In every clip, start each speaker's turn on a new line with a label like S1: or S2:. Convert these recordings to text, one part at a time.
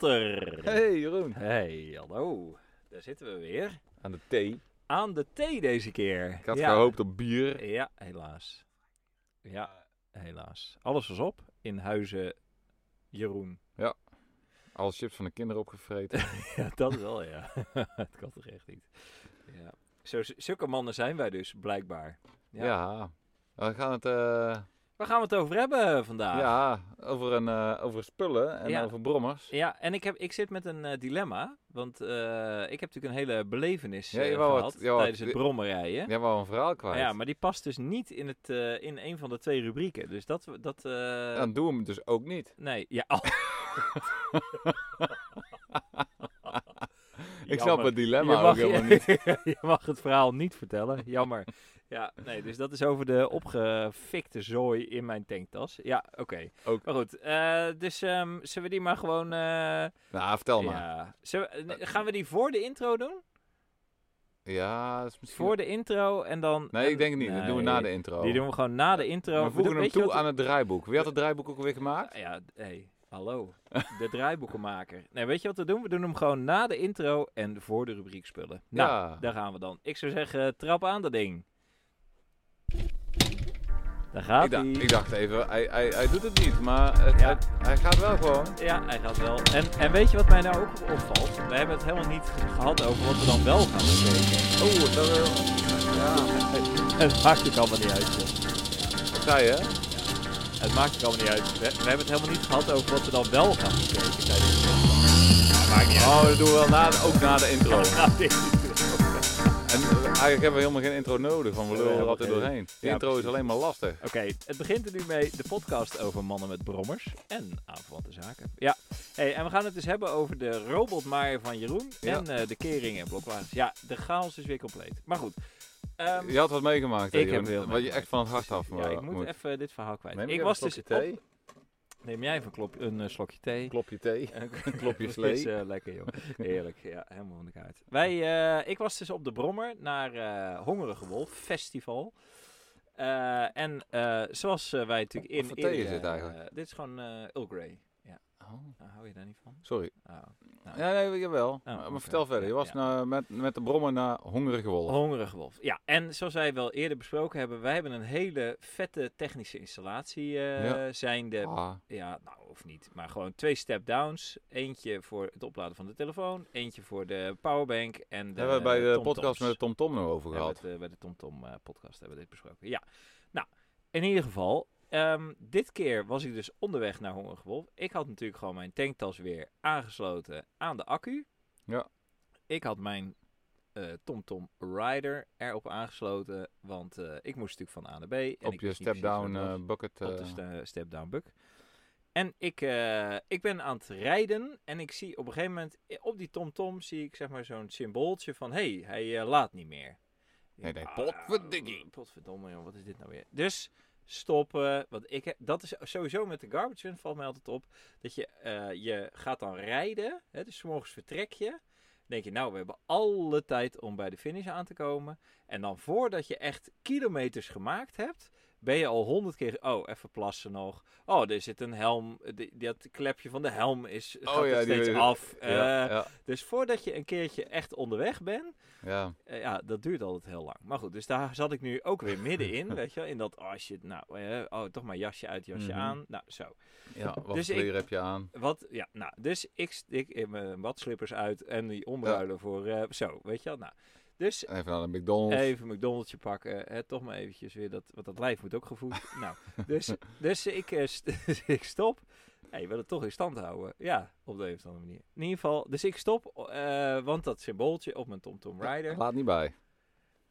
S1: Walter.
S2: Hey Jeroen.
S1: Hey, hallo. Daar zitten we weer.
S2: Aan de thee.
S1: Aan de thee deze keer.
S2: Ik had
S1: ja.
S2: gehoopt op bier.
S1: Ja, helaas. Ja, helaas. Alles was op in huizen Jeroen.
S2: Al chips van de kinderen opgevreten.
S1: Ja, dat wel, ja. Het kan toch echt niet. Ja. Zo, zulke mannen zijn wij dus, blijkbaar. Ja.
S2: ja. We gaan het eh,
S1: Waar gaan we het over hebben vandaag?
S2: ja, over, een, eh, over spullen en
S1: Ah. Ja.
S2: over brommers.
S1: Ja, en ik, heb, ik zit met een eh, dilemma. Want eh, ik heb natuurlijk een hele belevenis
S2: Ja,
S1: eh,
S2: je wou
S1: gehad
S2: het- je wou
S1: tijdens
S2: het-
S1: het brommerrijden.
S2: Jij wou een verhaal kwijt.
S1: Ja, maar die past dus niet in, het, eh, in een van de twee rubrieken. Dus dat... dat eh,
S2: Dan doen we hem dus ook niet.
S1: Nee, ja. oh.
S2: Ik snap het dilemma
S1: je
S2: ook
S1: mag,
S2: helemaal niet.
S1: je mag het verhaal niet vertellen, jammer. Ja, nee, dus dat is over de opgefikte zooi in mijn tanktas. Ja, oké.
S2: Ook.
S1: Maar goed, eh, dus ehm, zullen we die maar gewoon... eh,
S2: Nou, vertel maar.
S1: ja. Zullen we- eh, gaan we die voor de intro doen?
S2: Ja, dat is misschien...
S1: Voor de intro en dan...
S2: Nee, ik denk het niet. Dat doen we na de intro.
S1: Die doen we gewoon na de intro.
S2: we voegen hem
S1: Weet je
S2: toe
S1: wat-
S2: aan het draaiboek. Wie had het draaiboek ook weer gemaakt?
S1: Ja, hey, hallo. De draaiboekenmaker. Nee, weet je wat we doen? We doen hem gewoon na de intro en voor de rubriek spullen. Nou,
S2: Ja.
S1: daar gaan we dan. Ik zou zeggen, trap aan dat ding. Daar gaat
S2: Ik, da-
S1: hij.
S2: ik dacht even, hij, hij, hij doet het niet, maar het-
S1: Ja.
S2: hij, hij gaat wel gewoon.
S1: Ja, hij gaat wel. En, en weet je wat mij nou ook opvalt? We hebben het helemaal niet ge- gehad over wat we dan wel gaan bespreken.
S2: Oh, dat wil... Ja,
S1: Het maakt ook allemaal niet uit. joh.
S2: wat zei je?
S1: Het maakt ook allemaal niet uit. We, we hebben het helemaal niet gehad over wat we dan wel gaan bespreken tijdens de Maakt niet
S2: Oh, dat doen we wel na, ook na de intro.
S1: uit. Nou, dit is-
S2: En eh, eigenlijk hebben we helemaal geen intro nodig, want we
S1: Ja,
S2: lullen er
S1: helemaal
S2: altijd
S1: geen.
S2: doorheen. De
S1: Ja,
S2: intro
S1: precies.
S2: is alleen maar lastig.
S1: Oké, het begint er nu mee de podcast over mannen met brommers en aanverwante zaken. Ja, hey, en we gaan het dus hebben over de robotmaaier van Jeroen
S2: Ja.
S1: en eh, de keringen en blokwagens. Ja, de chaos is weer compleet. Maar goed, ehm,
S2: Je had wat meegemaakt, hè,
S1: ik heb
S2: Jeroen,
S1: heel
S2: Wat je
S1: meegemaakt.
S2: echt van het hart af
S1: ja,
S2: eh,
S1: ik moet, even dit verhaal kwijt.
S2: Neem
S1: ik
S2: even
S1: was
S2: een
S1: dus
S2: slokje
S1: op- neem jij even een, klop, een eh, slokje thee.
S2: Klopje thee.
S1: Een
S2: klopje
S1: Dat is
S2: slee.
S1: eh, lekker joh. Heerlijk, ja, helemaal van de kaart. Wij, eh, ik was dus op de Brommer naar eh Hongerige Wolf Festival. Eh, en eh, zoals eh, wij natuurlijk in...
S2: Wat voor thee is
S1: eerdere,
S2: dit eigenlijk?
S1: eh, dit is gewoon eh Earl Grey.
S2: Oh,
S1: Nou, hou je daar niet van?
S2: sorry.
S1: Oh.
S2: Ja, nee, jawel. maar
S1: oké.
S2: vertel verder. Je was
S1: Ja.
S2: nou met, met de brommer naar Ah, hongerige wolf.
S1: Oh. Hongerige wolf. Ja, en zoals wij wel eerder besproken hebben, wij hebben een hele vette technische installatie. eh
S2: Ja.
S1: Zijnde
S2: Ah,
S1: Ja, nou of niet. Maar gewoon twee step-downs. Eentje voor het opladen van de telefoon. Eentje voor de powerbank. En de eh,
S2: hebben we bij de
S1: TomToms.
S2: podcast met de Tom Tom nog over
S1: Hebben we
S2: gehad.
S1: het, eh, bij de TomTom eh, podcast hebben we dit besproken. Ja, nou, in ieder geval. ehm, dit keer was ik dus onderweg naar Hongerige Wolf. Ik had natuurlijk gewoon mijn tanktas weer aangesloten aan de accu.
S2: Ja.
S1: Ik had mijn eh, TomTom Rider erop aangesloten. Want eh, ik moest natuurlijk van A naar B. En
S2: Op
S1: ik
S2: je
S1: wist niet precies waar
S2: step-down
S1: het was
S2: eh, bucket.
S1: op de
S2: eh,
S1: sta- step-down buck. En ik, eh, ik ben aan het rijden en ik zie op een gegeven moment eh, op die TomTom zie ik zeg maar zo'n symbooltje van hé, hey, hij eh, laat niet meer. Ik
S2: Nee,
S1: denk,
S2: nee,
S1: ah,
S2: potverdikkie.
S1: Potverdomme joh, wat is dit nou weer? Dus stoppen, want ik heb, dat is sowieso met de garbage bin valt mij altijd op dat je, eh, je gaat dan rijden, hè, dus 's morgens vertrek je. Dan denk je, nou, we hebben alle tijd om bij de finish aan te komen. En dan voordat je echt kilometers gemaakt hebt, ben je al honderd keer, oh, even plassen nog. Oh, er zit een helm, eh, die- dat klepje van de helm is, gaat
S2: Oh ja,
S1: er
S2: die-
S1: steeds af.
S2: ja,
S1: Eh,
S2: ja,
S1: Dus voordat je een keertje echt onderweg bent,
S2: ja.
S1: eh, ja, dat duurt altijd heel lang. Maar goed, dus daar zat ik nu ook weer middenin, weet je wel. In dat, oh shit, nou, eh, oh, toch maar jasje uit, jasje
S2: Mhm.
S1: aan. Nou, zo.
S2: ja. Wat
S1: Dus ik-
S2: kleren heb je aan?
S1: Wat, ja, nou, dus ik stik in mijn wadslippers uit en die omruilen voor, eh, zo, weet je wel. Nou, dus
S2: Even naar de McDonald's.
S1: even een McDonald'sje pakken, hè, toch maar eventjes weer dat, want dat lijf moet ook gevoed. nou, dus, dus ik, eh, st- dus ik stop. Hé, hey, wil het toch in stand houden. Ja, op de een of andere manier. In ieder geval, dus ik stop, eh, want dat symbooltje op mijn TomTom Rider,
S2: Laat niet bij.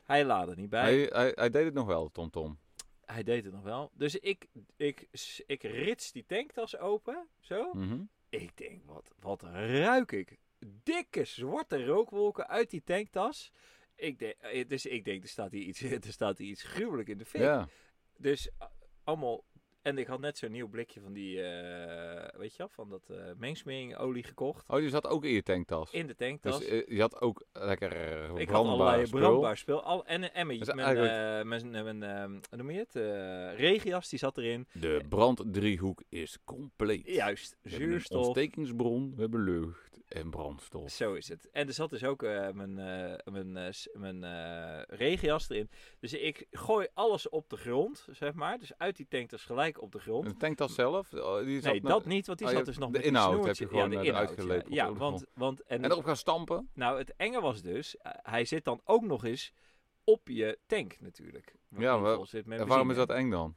S1: hij laadde niet bij.
S2: Hij, hij, hij deed het nog wel, Tom Tom.
S1: Hij deed het nog wel. Dus ik, ik, ik rits die tanktas open. Zo.
S2: Mhm.
S1: Ik denk, wat, wat ruik ik? Dikke zwarte rookwolken uit die tanktas. Ik denk, eh, dus ik denk, er staat hier iets, er staat hier iets gruwelijk in de fik.
S2: Ja.
S1: Dus eh, allemaal En ik had net zo'n nieuw blikje van die, eh, weet je wel, van dat eh mengsmeringolie gekocht.
S2: Oh, die zat ook in je tanktas.
S1: In de tanktas.
S2: Dus eh, je had ook lekker eh,
S1: ik had
S2: brandbaar
S1: allerlei
S2: spul.
S1: brandbaar spul. Al, en een emmer.
S2: Dus
S1: mijn,
S2: eigenlijk-
S1: eh, mijn, eh, mijn, eh, hoe noem je het? Eh, regenjas, die zat erin.
S2: De branddriehoek is compleet.
S1: Juist,
S2: We hebben een
S1: zuurstof.
S2: ontstekingsbron, we hebben lucht en brandstof.
S1: Zo is het. En er zat dus ook eh, mijn, eh, mijn, eh, s- mijn eh, regenjas erin. Dus ik gooi alles op de grond, zeg maar. Dus uit die tanktas gelijk op de grond.
S2: De tanktas zelf? eh, Die zat
S1: Nee,
S2: met-
S1: dat niet, want die
S2: Oh, je
S1: zat
S2: hebt
S1: dus nog
S2: de
S1: met die
S2: inhoud heb je
S1: snoertje.
S2: gewoon,
S1: ja,
S2: eh,
S1: de
S2: eruit
S1: inhoud,
S2: gelepeld
S1: Ja, ja
S2: op de grond.
S1: want, want en,
S2: En erop gaan stampen?
S1: nou, het enge was dus, eh, hij zit dan ook nog eens op je tank natuurlijk. Wat
S2: Ja,
S1: niet
S2: wa-
S1: vol zit met
S2: En waarom is
S1: benzine.
S2: dat eng dan?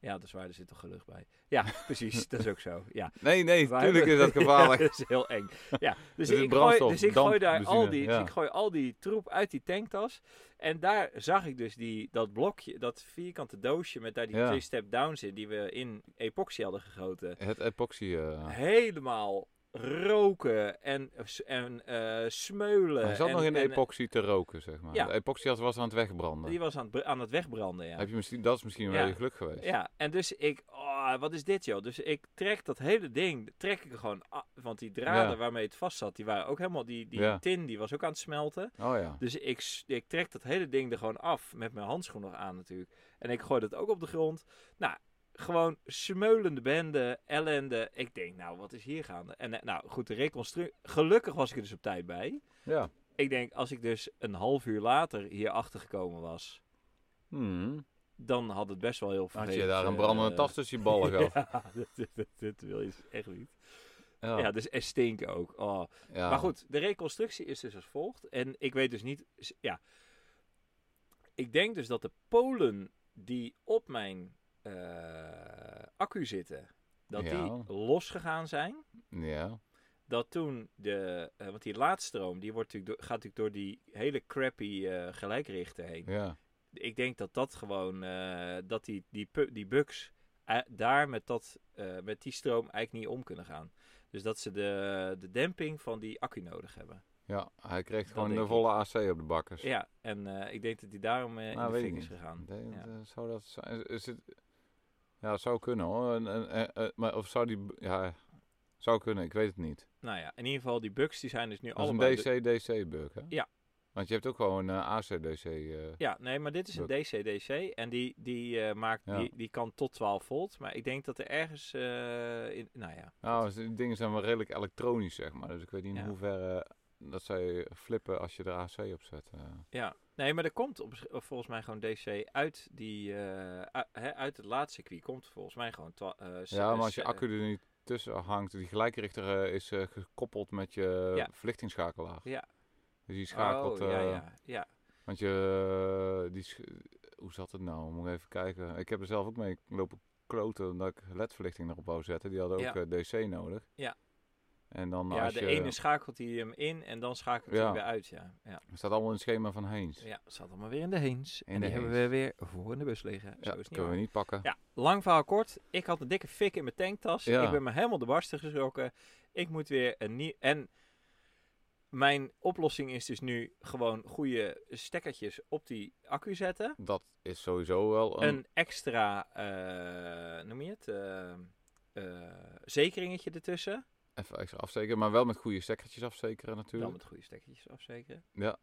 S1: Ja, dat is waar, er zit toch gelucht bij. Ja, precies, dat is ook zo. Ja.
S2: Nee, nee,
S1: Wij
S2: natuurlijk is
S1: hebben-
S2: dat gevaarlijk.
S1: Ja, dat is heel eng. Ja, dus,
S2: Het is
S1: ik, gooi,
S2: brandstof,
S1: dus ik
S2: damp,
S1: gooi daar al
S2: benzine,
S1: die,
S2: ja.
S1: dus ik gooi al die troep uit die tanktas. En daar zag ik dus die, dat blokje, dat vierkante doosje met daar die
S2: Ja.
S1: twee step downs in die we in epoxy hadden gegoten.
S2: Het epoxy. eh,
S1: Helemaal roken en, en eh, smeulen.
S2: hij zat
S1: en,
S2: nog in de
S1: en-
S2: epoxy te roken, zeg maar.
S1: Ja.
S2: De epoxy had- was aan het wegbranden.
S1: Die was aan het, br- aan het wegbranden, ja.
S2: Heb je misschien, dat is misschien wel
S1: Ja.
S2: je geluk geweest.
S1: Ja, en dus ik, oh, wat is dit joh? Dus ik trek dat hele ding, trek ik er gewoon af, want die draden
S2: Ja.
S1: waarmee het vast zat, die waren ook helemaal, die, die
S2: Ja.
S1: tin die was ook aan het smelten.
S2: Oh ja.
S1: Dus ik, s- ik trek dat hele ding er gewoon af, met mijn handschoen nog aan natuurlijk. En ik gooi dat ook op de grond. Nou, gewoon smeulende bende, ellende. Ik denk, nou, wat is hier gaande? En eh, nou, goed, de reconstructie, gelukkig was ik er dus op tijd bij.
S2: Ja.
S1: Ik denk, als ik dus een half uur later hier achter gekomen was,
S2: Hmm.
S1: dan had het best wel heel eh, veel.
S2: Had je daar een brandende tas tussen je ballen gehad.
S1: Ja, dat, dat- dat wil je dus echt niet. Ja,
S2: ja.
S1: dus en stinken ook. Oh.
S2: Oh. Ja.
S1: Maar goed, de reconstructie is dus als volgt. En ik weet dus niet... s- Ja. Ik denk dus dat de polen die op mijn eh, accu zitten... dat
S2: Ja.
S1: die losgegaan zijn.
S2: Ja.
S1: Dat toen de... eh, want die laadstroom die wordt natuurlijk door, gaat natuurlijk door die hele crappy eh, gelijkrichter heen.
S2: Ja.
S1: Ik denk dat dat gewoon, eh, dat die, die, pu- die bugs eh, daar met, dat, eh, met die stroom eigenlijk niet om kunnen gaan. Dus dat ze de, de demping van die accu nodig hebben.
S2: Ja. Hij kreeg gewoon
S1: denk
S2: de
S1: ik.
S2: volle AC op de bakkers.
S1: Ja, en eh, ik denk dat die daarom eh,
S2: Nou,
S1: in de
S2: weet ik
S1: fik is
S2: niet.
S1: gegaan.
S2: Nee,
S1: Ja.
S2: eh, Zou dat zijn? Is het... Ja, het zou kunnen hoor. En, en- en- eh, maar of zou die... b- Ja, zou kunnen. Ik weet het niet.
S1: Nou ja, in ieder geval die bugs die zijn dus nu
S2: Dat is
S1: allemaal...
S2: een DC-DC-bug, hè?
S1: Ja.
S2: Want je hebt ook gewoon een AC-DC... eh,
S1: Ja, nee, maar dit is een DC-DC en die, die, eh, maakt,
S2: Ja.
S1: die, die kan tot 12 volt. Maar ik denk dat er ergens, eh, in, nou ja,
S2: Nou, dus die dingen zijn wel redelijk elektronisch, zeg maar. Dus ik weet niet
S1: Ja.
S2: in hoeverre dat zij flippen als je er AC op zet. eh.
S1: Ja, nee, maar er komt op, volgens mij gewoon DC uit die eh, u- hè, uit het laadcircuit komt volgens mij gewoon. twa- eh, s-
S2: Ja,
S1: eh,
S2: maar als
S1: s-
S2: je accu er niet tussen hangt, die gelijkrichter eh, is eh, gekoppeld met je
S1: Ja.
S2: verlichtingsschakelaar.
S1: eh, Ja.
S2: Dus die schakelt...
S1: Oh, ja,
S2: eh,
S1: ja, ja.
S2: Want je... eh, die sch- hoe zat het nou? Moet ik even kijken. Ik heb er zelf ook mee lopen kloten omdat ik ledverlichting erop wou zetten. Die hadden ook eh, DC nodig.
S1: Ja.
S2: En dan
S1: ja,
S2: als
S1: de
S2: je...
S1: ene schakelt hij hem in en dan schakelt hij
S2: Ja.
S1: hem weer uit. Ja, ja.
S2: Het staat allemaal in het schema van Heens.
S1: ja staat allemaal weer in de heens.
S2: In
S1: en
S2: de
S1: die hebben we
S2: heens.
S1: weer voor in de bus liggen. Zo
S2: Ja,
S1: is het niet
S2: kunnen we
S1: waar.
S2: niet pakken.
S1: Ja, lang verhaal kort. Ik had een dikke fik in mijn tanktas.
S2: Ja.
S1: Ik ben me helemaal de barsten geschrokken. Ik moet weer een nieuw... En mijn oplossing is dus nu gewoon goede stekkertjes op die accu zetten.
S2: Dat is sowieso wel een...
S1: een extra, eh, noem je het, eh, eh, zekeringetje ertussen.
S2: Even extra afsteken, maar wel met goede stekkertjes afzekeren
S1: Dan
S2: natuurlijk.
S1: met goede stekkertjes afzekeren.
S2: Ja.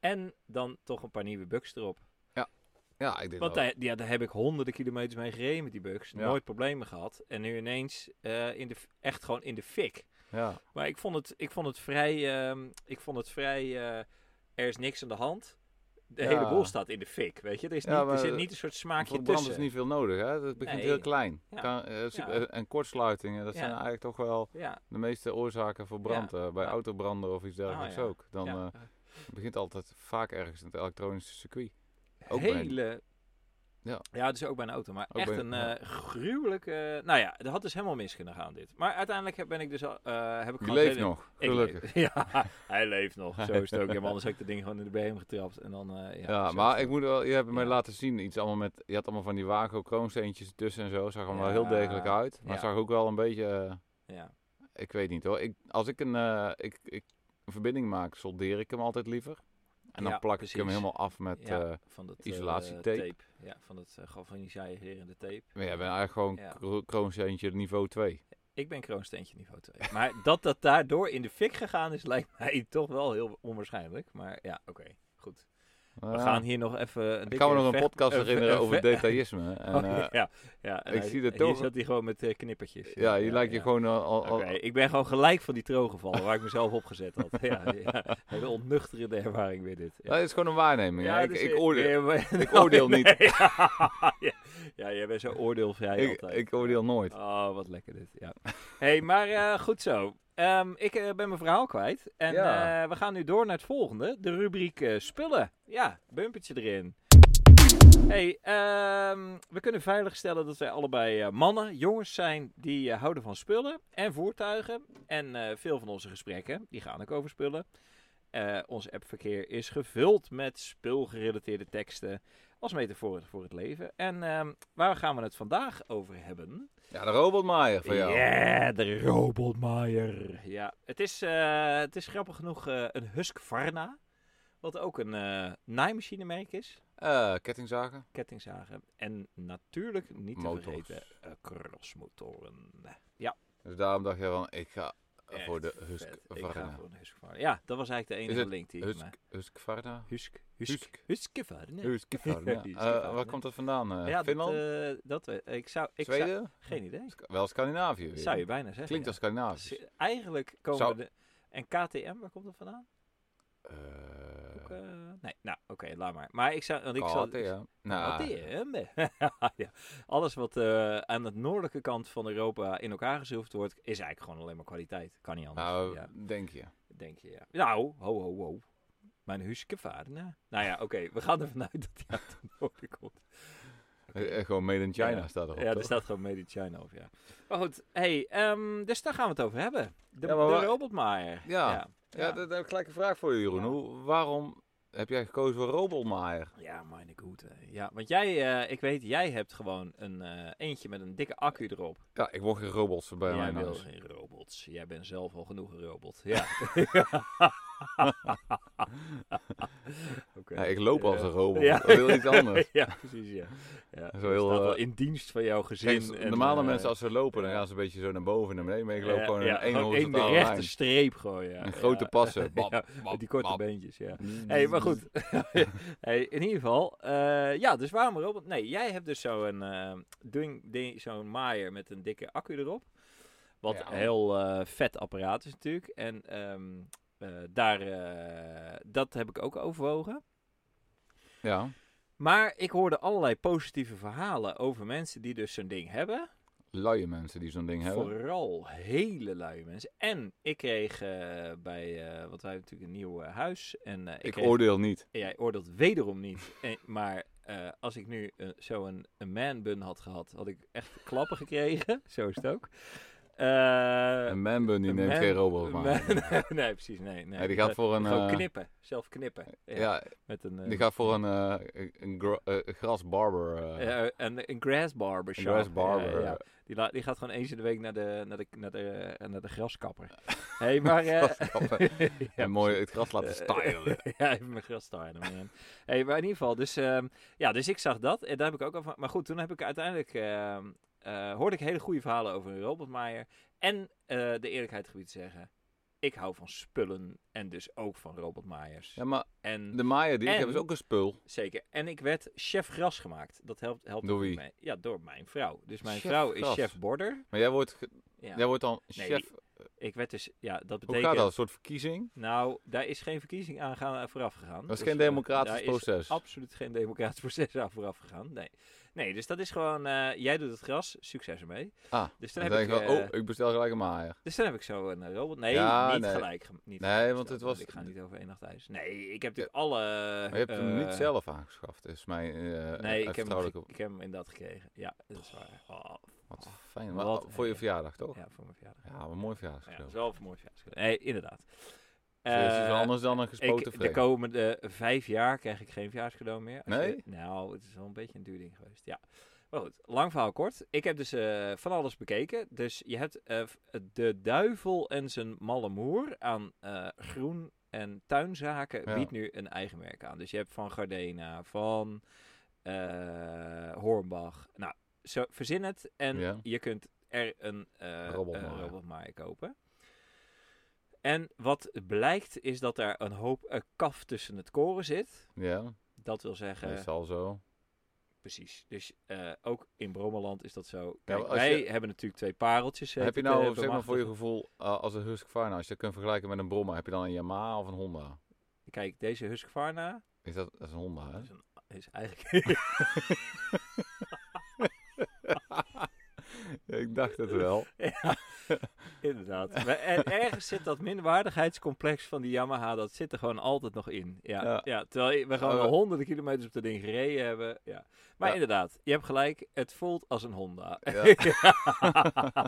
S1: En dan toch een paar nieuwe bugs erop.
S2: Ja, ik denk
S1: Want
S2: wel.
S1: daar, ja, daar heb ik honderden kilometers mee gereden met die bugs.
S2: Ja.
S1: Nooit problemen gehad. En nu ineens eh, in de, f- echt gewoon in de fik.
S2: Ja,
S1: Maar ik vond het, ik vond het vrij, ehm, ik vond het vrij eh, er is niks aan de hand. De
S2: Ja.
S1: hele boel staat in de fik, weet je. Er, is
S2: Ja,
S1: niet,
S2: maar
S1: er zit
S2: de-
S1: niet een soort
S2: voor
S1: smaakje
S2: de brand is
S1: tussen.
S2: niet veel nodig. Hè? Het begint
S1: Nee.
S2: heel klein.
S1: Ja.
S2: Kan, eh, super-
S1: Ja.
S2: En kortsluitingen, dat
S1: Ja.
S2: zijn eigenlijk toch wel
S1: Ja,
S2: de meeste oorzaken voor brand. eh, bij
S1: Ja. Oh,
S2: autobranden of iets dergelijks
S1: ja.
S2: ook. Dan
S1: ja.
S2: eh, het begint altijd vaak ergens in het elektronische circuit. Ook bij een-
S1: hele...
S2: Ja.
S1: ja, dus ook bij een auto. Maar
S2: Ook
S1: echt
S2: bij-
S1: een
S2: ja.
S1: eh, gruwelijke... Nou ja, dat had dus helemaal mis kunnen gaan dit. Maar uiteindelijk heb, ben ik dus al, eh, heb ik
S2: Die
S1: gewoon...
S2: leeft
S1: het hele-
S2: nog,
S1: Ik
S2: gelukkig.
S1: leef. Ja, hij leeft nog. Zo is het ook. Ja, maar anders heb ik dat ding gewoon in de BM getrapt. En dan... eh, ja,
S2: Ja,
S1: zo is
S2: maar
S1: het
S2: ik moet wel, je hebt mij
S1: Ja.
S2: laten zien, iets allemaal met, je had allemaal van die wago kroonsteentjes tussen en zo, zag er wel heel
S1: Ja.
S2: degelijk uit, maar
S1: Ja.
S2: zag ook wel een beetje, eh,
S1: ook. Ja.
S2: Ik weet niet hoor. Ik, als ik een, eh, ik, ik een verbinding maak, soldeer ik hem altijd liever. En dan
S1: Ja,
S2: plak ik hem
S1: precies.
S2: helemaal af met...
S1: Ja,
S2: eh,
S1: van dat eh,
S2: isolatietape.
S1: tape. Ja, van dat eh, galvaniserende tape.
S2: maar ja, ik ben eigenlijk gewoon
S1: Ja.
S2: kro- kroonsteentje niveau 2.
S1: Ik ben kroonsteentje niveau 2. Maar dat dat daardoor in de fik gegaan is, lijkt mij toch wel heel onwaarschijnlijk. Maar ja, oké, goed. We gaan hier nog even... Een
S2: Ah, Ik kan me nog een
S1: vecht-
S2: podcast
S1: ve-
S2: herinneren
S1: een
S2: over
S1: ve-
S2: detailisme. En, eh,
S1: ja, ja, en
S2: ik
S1: hij-
S2: zie dat
S1: Hier
S2: toch-
S1: zat hij gewoon met eh, knippertjes.
S2: ja, hier lijkt je
S1: ja.
S2: gewoon oh. al... al-
S1: Oké,
S2: al-
S1: ik ben gewoon gelijk van die troon gevallen waar ik mezelf opgezet had. Ja, ja. Hele ontnuchterende ervaring weer dit.
S2: Ja, het is gewoon een waarneming. hè. ik,
S1: dus,
S2: ik
S1: eh,
S2: oordeel,
S1: nee, maar-
S2: ik oordeel
S1: nee.
S2: niet.
S1: ja, ja, jij bent zo oordeelvrij
S2: ik,
S1: altijd.
S2: ik oordeel nooit.
S1: Oh, wat lekker dit. Ja. hey, maar eh, goed zo. Ehm, ik eh, ben mijn verhaal kwijt. En
S2: Ja.
S1: eh, we gaan nu door naar het volgende. De rubriek eh, spullen. Ja, bumpertje erin. hey, ehm, we kunnen veiligstellen dat wij allebei eh, mannen, jongens zijn die eh, houden van spullen en voertuigen. En eh, veel van onze gesprekken, die gaan ook over spullen. Eh, ons appverkeer is gevuld met spulgerelateerde teksten als metafoor voor het leven. En ehm, waar gaan we het vandaag over hebben?
S2: Ja, de robotmaaier van jou.
S1: Ja, de robotmaaier. Ja, het is, eh, het is grappig genoeg eh, een Husqvarna. Wat ook een eh naaimachinemerk is.
S2: Eh, kettingzagen.
S1: Kettingzagen. En natuurlijk niet
S2: Motors.
S1: te vergeten eh, crossmotoren. Ja,
S2: Dus daarom dacht je van, ik ga
S1: echt
S2: Eh, voor de
S1: vet. Ik ga
S2: Husqvarna.
S1: voor een Husqvarna. Ja, dat was eigenlijk de enige
S2: Is het
S1: link die ik...
S2: Husk,
S1: maar-
S2: Husqvarna?
S1: Husk. Husk.
S2: Husk.
S1: Husqvarna.
S2: Husqvarna.
S1: Ja,
S2: Eh,
S1: Husqvarna.
S2: waar komt dat vandaan? eh?
S1: Ja, dat,
S2: Finland?
S1: eh, dat we, ik zou, ik zou,
S2: Zweden?
S1: geen idee.
S2: Sc- Wel Scandinavië weer.
S1: Zou je bijna zeggen.
S2: Klinkt
S1: ja.
S2: als Scandinavisch.
S1: Z- Eigenlijk komen
S2: Zou-
S1: we de... En KTM, waar komt dat vandaan?
S2: Eh,
S1: Ook, eh, nee, nou oké, laat maar. Maar ik zou, want ik zal,
S2: KT, ja. Nou,
S1: KTM. ja. Alles wat eh, aan de noordelijke kant van Europa in elkaar gezilverd wordt, is eigenlijk gewoon alleen maar kwaliteit. Kan niet anders.
S2: nou,
S1: ja,
S2: denk je.
S1: denk je, ja. Nou, ho, ho, ho. Mijn Husqvarna. Nou ja, oké, we gaan ervan uit dat die uit de noorden komt. Oké.
S2: Eh, eh, gewoon Made in China
S1: Ja.
S2: staat erop,
S1: Ja,
S2: toch?
S1: er staat gewoon Made in China op, ja. Maar goed, hey, ehm, dus daar gaan we het over hebben. De,
S2: Ja, maar
S1: de
S2: waar-
S1: robotmaaier.
S2: Ja.
S1: ja.
S2: Ja, dat heb ik gelijk een vraag voor je, Jeroen.
S1: Ja.
S2: Hoe, waarom heb jij gekozen voor robotmaaier?
S1: Ja, mijn goede. Ja, want jij, eh, ik weet, jij hebt gewoon een eh, eentje met een dikke accu erop.
S2: Ja, ik word geen robots bij
S1: jij
S2: mij
S1: wil
S2: thuis.
S1: geen robots. Jij bent zelf al genoeg een robot. Ja. Oké.
S2: Ja, ik loop als
S1: Eh,
S2: een robot.
S1: ja.
S2: Dat is heel iets anders.
S1: ja, precies, ja. ja
S2: is
S1: je
S2: wel heel,
S1: staat wel
S2: eh,
S1: in dienst van jouw gezin.
S2: Kijk, s-
S1: en,
S2: normale
S1: eh,
S2: mensen als ze lopen, dan
S1: ja.
S2: gaan ze een beetje zo naar boven en naar beneden. Maar ik loop
S1: ja,
S2: gewoon in
S1: ja,
S2: één
S1: gewoon één
S2: horizontale
S1: rechte
S2: lijn.
S1: streep gooien.
S2: En grote
S1: ja.
S2: passen. Bap,
S1: Ja,
S2: bap,
S1: met die korte
S2: bap.
S1: beentjes, ja. Hé, hey, maar goed. hey, in ieder geval. eh, ja, dus waarom robot? Nee, jij hebt dus zo'n eh, ding, ding, zo'n maaier met een dikke accu erop. Wat
S2: Ja.
S1: een heel eh, vet apparaat is natuurlijk. En ehm, eh, daar, eh, dat heb ik ook overwogen.
S2: Ja,
S1: Maar ik hoorde allerlei positieve verhalen over mensen die dus zo'n ding hebben.
S2: luie mensen die zo'n ding hebben.
S1: Vooral hele lui mensen. En ik kreeg eh, bij, eh, want wij hebben natuurlijk een nieuw eh, huis. En, eh, ik
S2: Ik
S1: kreeg-
S2: oordeel niet.
S1: en jij oordeelt wederom niet. En, maar eh, als ik nu eh, zo'n een man bun had gehad, had ik echt klappen gekregen. Zo is het ook. Eh,
S2: Een manbun die
S1: een
S2: neemt
S1: man-
S2: geen robot
S1: een
S2: maar.
S1: man- nee, precies. Nee, nee.
S2: Nee, die gaat
S1: Eh,
S2: voor een...
S1: Gewoon
S2: eh,
S1: knippen. Zelf knippen. Ja,
S2: Ja,
S1: met een, eh,
S2: die gaat voor een, eh, een gra- eh, grasbarber. eh,
S1: eh, een, een grass barber
S2: Een eh,
S1: shop.
S2: grassbarber.
S1: Ja, ja. Die, la- die gaat gewoon eens in de week naar de, naar de, naar de, eh, naar de graskapper. hey, maar... eh,
S2: Graskapper.
S1: ja,
S2: en mooi het gras laten
S1: Eh,
S2: stylen.
S1: ja, even mijn gras stylen, man. hey, maar in ieder geval, dus, ehm, ja, dus ik zag dat. En daar heb ik ook over. Maar goed, toen heb ik uiteindelijk. ehm, eh, hoorde ik hele goede verhalen over een robotmaaier. En eh, de eerlijkheid gebied zeggen. Ik hou van spullen en dus ook van robotmaaiers.
S2: Ja, maar
S1: En
S2: de maaier die ik
S1: En-
S2: heb is ook een spul.
S1: zeker. En ik werd chef gras gemaakt. Dat helpt, helpt
S2: Door
S1: ook
S2: wie?
S1: mee. Ja, door mijn vrouw. Dus mijn
S2: Chef
S1: vrouw
S2: gras.
S1: is chef border.
S2: Maar jij wordt, ge-
S1: Ja.
S2: jij wordt dan
S1: Nee,
S2: chef.
S1: die Ik werd dus, ja, dat
S2: Hoe
S1: betekent.
S2: gaat dat? Een soort verkiezing?
S1: Nou, daar is geen verkiezing aan gaan, vooraf gegaan.
S2: Dat is
S1: Dus,
S2: geen
S1: eh,
S2: democratisch
S1: daar is
S2: proces.
S1: absoluut geen democratisch proces aan vooraf gegaan. Nee. nee, dus dat is gewoon, eh, jij doet het gras, succes ermee.
S2: Ah,
S1: Dus dan,
S2: dan
S1: heb
S2: denk
S1: ik,
S2: ik wel,
S1: eh,
S2: oh, ik bestel gelijk een maaier.
S1: dus dan heb ik zo een eh, robot. Nee,
S2: Ja,
S1: niet
S2: nee.
S1: gelijk. gem- Niet
S2: Nee,
S1: gelijk
S2: want
S1: gesteld,
S2: het was-
S1: Ik ga niet over één nacht thuis. Nee, ik heb natuurlijk alle...
S2: Maar je hebt hem niet
S1: eh,
S2: zelf aangeschaft, is mijn eh
S1: Nee, ik heb, hem,
S2: vertrouwelijke...
S1: ge- ik heb hem inderdaad gekregen. Ja, dat is waar. Oh,
S2: Wat fijn. Maar
S1: Wat
S2: voor je
S1: een-
S2: verjaardag, toch? Ja,
S1: ja, voor mijn verjaardag.
S2: wat een mooi
S1: Ja, dat
S2: verjaardagscadeau.
S1: is wel een mooi verjaardag. Nee, inderdaad.
S2: Dus het is wel
S1: Eh,
S2: anders dan een gespoten
S1: Ik, de
S2: vreemd.
S1: komende eh, vijf jaar krijg ik geen verjaarscadeau meer. Als
S2: Nee?
S1: je- nou, het is wel een beetje een duur ding geweest. Ja. Maar goed, lang verhaal kort. Ik heb dus eh, van alles bekeken. Dus je hebt eh, f- de duivel en zijn malle moer aan eh, groen en tuinzaken
S2: Ja.
S1: biedt nu een eigen merk aan. Dus je hebt van Gardena, van eh, Hornbach. Nou, zo, verzin het en
S2: Ja.
S1: je kunt er een eh
S2: Robot
S1: eh,
S2: maken.
S1: robotmaaier kopen. En wat blijkt is dat daar een hoop eh, kaf tussen het koren zit.
S2: Ja,
S1: Dat wil zeggen,
S2: meestal zo.
S1: precies. Dus eh, ook in Brommeland is dat zo.
S2: maar
S1: Kijk,
S2: als
S1: wij
S2: je-
S1: hebben natuurlijk twee pareltjes. eh,
S2: heb je
S1: te- te
S2: nou, zeg maar,
S1: bemachtigen.
S2: voor je gevoel, eh, als een Husqvarna, als je dat kunt vergelijken met een Brommer, heb je dan een Yamaha of een Honda?
S1: Kijk, deze Husqvarna
S2: Is dat, dat is een Honda, hè?
S1: is, een, is eigenlijk...
S2: Ja, ik dacht het wel.
S1: ja, inderdaad. Maar en ergens zit dat minderwaardigheidscomplex van die Yamaha, dat zit er gewoon altijd nog in. Ja, ja.
S2: Ja.
S1: terwijl je- we gewoon
S2: Oh,
S1: al
S2: we-
S1: honderden kilometers op dat ding gereden hebben. Ja. Maar
S2: Ja.
S1: inderdaad, je hebt gelijk, het voelt als een Honda.
S2: Ja.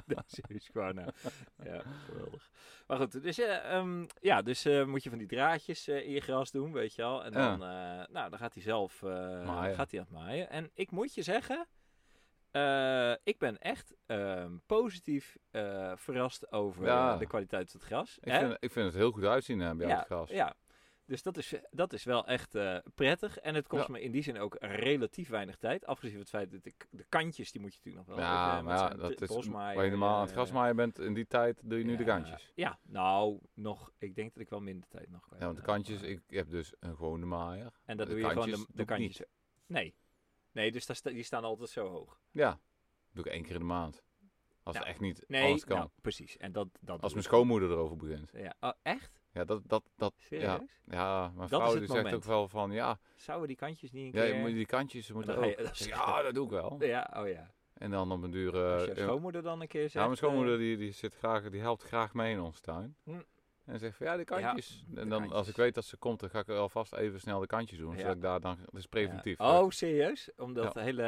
S1: Deze Husqvarna. dus eh, Ja, geweldig. Maar goed, dus, eh, ehm, ja, dus eh, moet je van die draadjes eh, in je gras doen, weet je al. En
S2: Ja.
S1: dan, eh, nou, dan gaat hij zelf eh,
S2: Maaien.
S1: gaat hij aan het maaien. En ik moet je zeggen, eh, ik ben echt ehm, positief eh, verrast over
S2: Ja.
S1: eh, de kwaliteit van het gras.
S2: Ik
S1: Hè?
S2: vind, ik vind het heel goed uitzien hè, bij jou
S1: Ja,
S2: het gras.
S1: Ja. Dus dat is, dat is wel echt eh, prettig. En het kost
S2: Ja.
S1: me in die zin ook relatief weinig tijd. Afgezien van het feit dat ik, de kantjes, die moet je natuurlijk nog wel...
S2: Ja,
S1: even, eh, met
S2: maar ja,
S1: zo'n
S2: dat
S1: t-
S2: is
S1: bosmaaier,
S2: waar je normaal aan het
S1: eh,
S2: grasmaaien bent. In die tijd doe je nu de
S1: ja,
S2: kantjes.
S1: Ja, nou, nog, ik denk dat ik wel minder tijd nog kwijt
S2: Ja, want de
S1: ben,
S2: kantjes,
S1: maar-
S2: ik heb dus een gewone maaier.
S1: En dat
S2: de
S1: doe je gewoon de,
S2: kantjes
S1: de
S2: doe ik niet.
S1: kantjes. Nee. Nee, dus daar sta- die staan altijd zo hoog.
S2: Ja, doe ik één keer in de maand. Als
S1: Nou,
S2: het echt niet
S1: Nee,
S2: alles kan.
S1: nou, precies. En dat, dat
S2: Als
S1: doe
S2: mijn
S1: ik.
S2: schoonmoeder erover begint.
S1: Ja, oh, echt?
S2: Ja, dat, dat, dat, ja,
S1: Serieus?
S2: ja, mijn
S1: Dat is
S2: vrouw
S1: het
S2: die zegt
S1: moment.
S2: ook wel van, ja,
S1: Zouden die kantjes niet een
S2: ja
S1: keer...
S2: je moet die kantjes moeten
S1: dan ga
S2: ook.
S1: je- dat
S2: Ik zeg,
S1: is-
S2: ja, dat doe ik wel.
S1: Ja, oh ja.
S2: En dan op een duur...
S1: Als
S2: eh,
S1: je
S2: eh,
S1: schoonmoeder dan een keer zegt...
S2: ja, mijn schoonmoeder
S1: eh,
S2: die, die, zit graag, die helpt graag mee in onze tuin.
S1: Hm.
S2: En zegt van, ja, de kantjes.
S1: de
S2: en dan als
S1: kantjes.
S2: ik weet dat ze komt, dan ga ik er alvast even snel de kantjes doen.
S1: Ja.
S2: Zodat ik daar dan, dat is preventief.
S1: ja. Oh, serieus? Om dat
S2: Ja.
S1: hele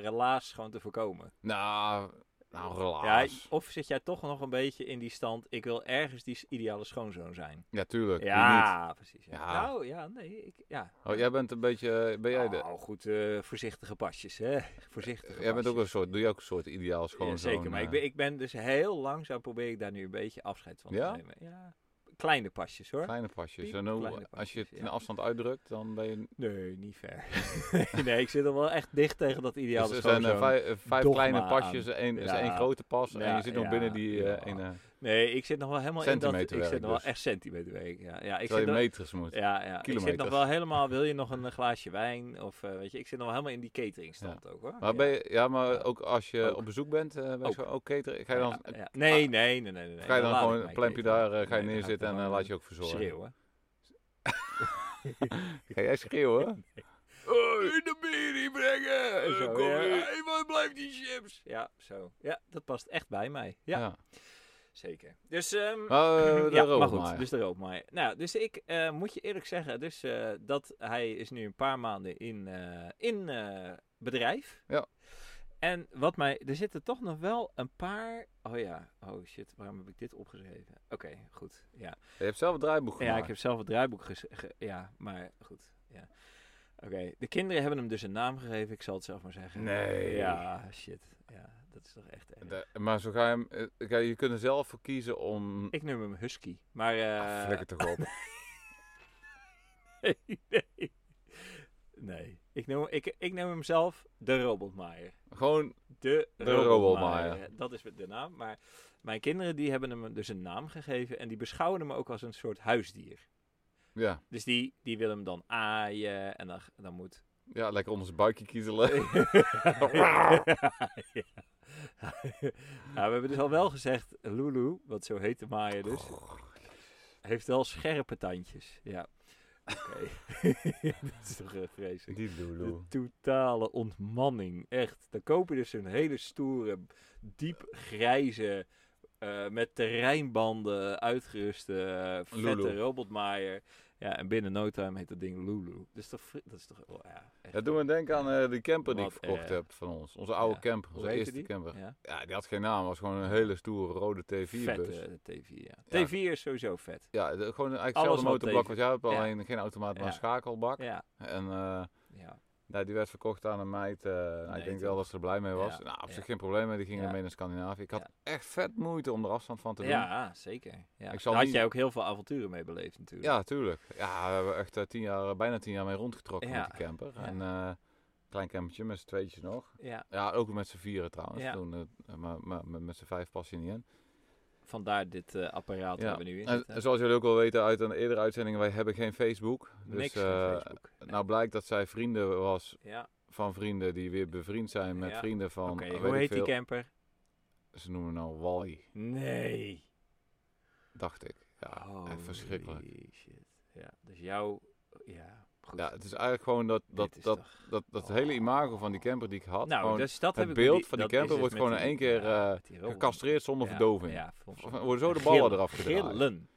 S1: relaas gewoon te voorkomen.
S2: Nou, nou,
S1: Ja,
S2: relaas. Ja,
S1: of zit jij toch nog een beetje in die stand... Ik wil ergens die ideale schoonzoon zijn.
S2: tuurlijk. wie niet?
S1: Ja, precies. Ja.
S2: Ja.
S1: Nou, ja, nee, ik, ja.
S2: Oh, jij bent een beetje, eh, ben jij de...
S1: Nou, goed, eh, voorzichtige pasjes, hè. Voorzichtige
S2: Jij bent ook een
S1: pasjes.
S2: soort, doe je ook een soort ideaal schoon.
S1: Ja, zeker,
S2: eh.
S1: maar ik ben, ik ben dus heel langzaam probeer ik daar nu een beetje afscheid van
S2: Ja?
S1: te nemen. Ja, kleine pasjes, hoor.
S2: Kleine pasjes.
S1: Piep,
S2: En hoe-
S1: kleine
S2: als je het
S1: pasjes,
S2: in
S1: ja.
S2: afstand uitdrukt, dan ben je...
S1: Nee, niet ver. nee, ik zit er wel echt dicht tegen dat ideale
S2: dus er zijn
S1: schoonzoon.
S2: eh, vij- eh, vijf
S1: dogma
S2: kleine
S1: aan.
S2: pasjes, één, is
S1: Ja.
S2: één grote pas
S1: Ja,
S2: en je zit nog
S1: ja,
S2: binnen die
S1: ja.
S2: eh ene...
S1: Nee, ik zit nog wel helemaal in dat... Ik
S2: Centimeterwerk
S1: zit nog wel
S2: dus.
S1: echt centimeterwerk, ja. ja ik
S2: terwijl
S1: zit
S2: je
S1: nog,
S2: meters moet.
S1: ja, ja. ik zit nog
S2: kilometers.
S1: wel helemaal... Wil je nog een eh, glaasje wijn? Of, eh, weet je, ik zit nog wel helemaal in die cateringstand ook, hoor.
S2: Maar
S1: Ja.
S2: ben je, ja, maar
S1: Ja.
S2: ook als je
S1: Ook.
S2: op bezoek bent, eh ben
S1: Ook.
S2: je ook catering. Ga je dan, Ah.
S1: Ja, ja. Nee, nee, nee, nee. nee,
S2: ga je dan
S1: laat ik
S2: gewoon
S1: mij
S2: een plempje
S1: cateren.
S2: daar, eh, ga je
S1: Nee, dan ga ik
S2: neerzitten en
S1: gewoon,
S2: eh, laat je ook
S1: eh,
S2: verzorgen.
S1: schreeuwen.
S2: Ga jij schreeuwen?
S1: Hoi, de bier hier brengen!
S2: Zo,
S1: Kom
S2: ja.
S1: hier, hey, waar blijft die chips? Ja, zo. Ja, dat past echt bij mij. Ja, zeker. Dus, ehm,
S2: Maar, eh, de
S1: ja,
S2: rook
S1: maar goed,
S2: maar.
S1: dus de rookmaaier. Nou, dus ik eh, moet je eerlijk zeggen, dus, eh, dat hij is nu een paar maanden in, eh, in eh, bedrijf.
S2: Ja.
S1: En wat mij, er zitten toch nog wel een paar, oh ja, oh shit, waarom heb ik dit opgeschreven? Oké, goed, ja.
S2: Je hebt zelf een draaiboek
S1: Ja,
S2: gemaakt.
S1: ik heb zelf het draaiboek ges- ge- Ja, maar goed. Ja. Oké, de kinderen hebben hem dus een naam gegeven. Ik zal het zelf maar zeggen.
S2: Nee.
S1: Ja, shit. Ja, dat is toch echt erg.
S2: De- maar zo ga je hem, eh, ga je je kunt er zelf voor kiezen om...
S1: Ik noem hem Husky. Maar...
S2: Ah,
S1: eh
S2: flikker toch op.
S1: nee, nee. Nee. Ik noem, ik, ik noem hem zelf de robotmaaier.
S2: Gewoon,
S1: De,
S2: De
S1: robotmaaier.
S2: robotmaaier.
S1: Dat is de naam. Maar mijn kinderen die hebben hem dus een naam gegeven. En die beschouwen hem ook als een soort huisdier.
S2: ja,
S1: Dus die, die willen hem dan aaien. En dan, dan moet
S2: ja lekker onder zijn buikje kiezelen.
S1: ja. Nou, we hebben dus al wel gezegd, Lulu, wat zo heet de maaier dus, heeft wel scherpe tandjes. Ja. Oké. dat is toch eh, vreselijk.
S2: Die Lulu.
S1: De totale ontmanning, echt. Dan koop je dus een hele stoere, diep grijze, eh, met terreinbanden uitgeruste, eh, vette
S2: Lulu.
S1: robotmaaier. Ja, en binnen no time heet dat ding Lulu. Dat is toch... vre- Dat is toch oh, ja, echt
S2: Dat doen we denken aan eh, die camper die ik
S1: Wat
S2: verkocht
S1: erg.
S2: heb van ons. Onze oude
S1: Ja.
S2: camper,
S1: Hoe
S2: onze
S1: heette
S2: eerste
S1: die?
S2: camper.
S1: Ja.
S2: Ja, die had geen naam, was gewoon een hele stoere rode T4-bus.
S1: Vette T4, ja.
S2: dus.
S1: T4
S2: Ja.
S1: is sowieso vet.
S2: Ja, de- gewoon eigenlijk
S1: Alles
S2: hetzelfde
S1: wat
S2: motorblok
S1: T4.
S2: wat jij hebt,
S1: Ja.
S2: alleen geen automaat, maar
S1: Ja.
S2: een schakelbak.
S1: Ja,
S2: En eh,
S1: ja.
S2: Nou, die werd verkocht aan een meid. eh, nou, ik
S1: Nee,
S2: denk wel
S1: toch?
S2: dat ze er blij mee was.
S1: Ja,
S2: Nou, op zich
S1: ja.
S2: geen probleem mee. Die gingen
S1: Ja.
S2: ermee naar Scandinavië. Ik had
S1: Ja.
S2: echt vet moeite om er afstand van te doen.
S1: Ja, zeker. Ja.
S2: Ik
S1: Ik
S2: zal
S1: had
S2: niet-
S1: jij ook heel veel avonturen mee beleefd natuurlijk.
S2: Ja, tuurlijk. Ja, we hebben echt eh, tien jaar, bijna tien jaar mee rondgetrokken
S1: Ja.
S2: met die camper.
S1: Ja.
S2: En eh, klein campertje met z'n tweetjes nog.
S1: Ja,
S2: Ja, ook met z'n vieren trouwens.
S1: Ja.
S2: Toen, eh, maar, maar met- met z'n vijf pas je niet in.
S1: vandaar dit eh, apparaat
S2: Ja.
S1: waar we nu in
S2: En
S1: zitten.
S2: zoals jullie ook al weten uit een eerdere uitzending, wij hebben geen Facebook. Dus,
S1: Niks
S2: eh,
S1: van Facebook. Nee.
S2: Nou blijkt dat zij vrienden was
S1: ja,
S2: van vrienden die weer bevriend zijn met
S1: Ja.
S2: vrienden van...
S1: oké.
S2: eh, weet
S1: Hoe
S2: ik
S1: heet die
S2: veel.
S1: camper?
S2: Ze noemen hem nou Wally,
S1: Nee.
S2: dacht ik. Ja, echt verschrikkelijk.
S1: Holy shit. Eh, Ja, dus jou... Ja, goed.
S2: Ja, het is eigenlijk gewoon dat, dat,
S1: Dit is
S2: dat,
S1: toch- Oh.
S2: dat, dat, hele imago van die camper die ik had.
S1: nou,
S2: gewoon
S1: dus dat
S2: het
S1: heb ik
S2: beeld
S1: met
S2: van die
S1: dat
S2: camper
S1: is
S2: wordt
S1: het
S2: gewoon
S1: met
S2: in één
S1: die-
S2: keer,
S1: ja,
S2: eh,
S1: met die rommel.
S2: gecastreerd zonder
S1: Ja,
S2: verdoving.
S1: Ja, volgens mij.
S2: Worden zo de ballen
S1: Gillen.
S2: eraf gedraaid.
S1: Gillen.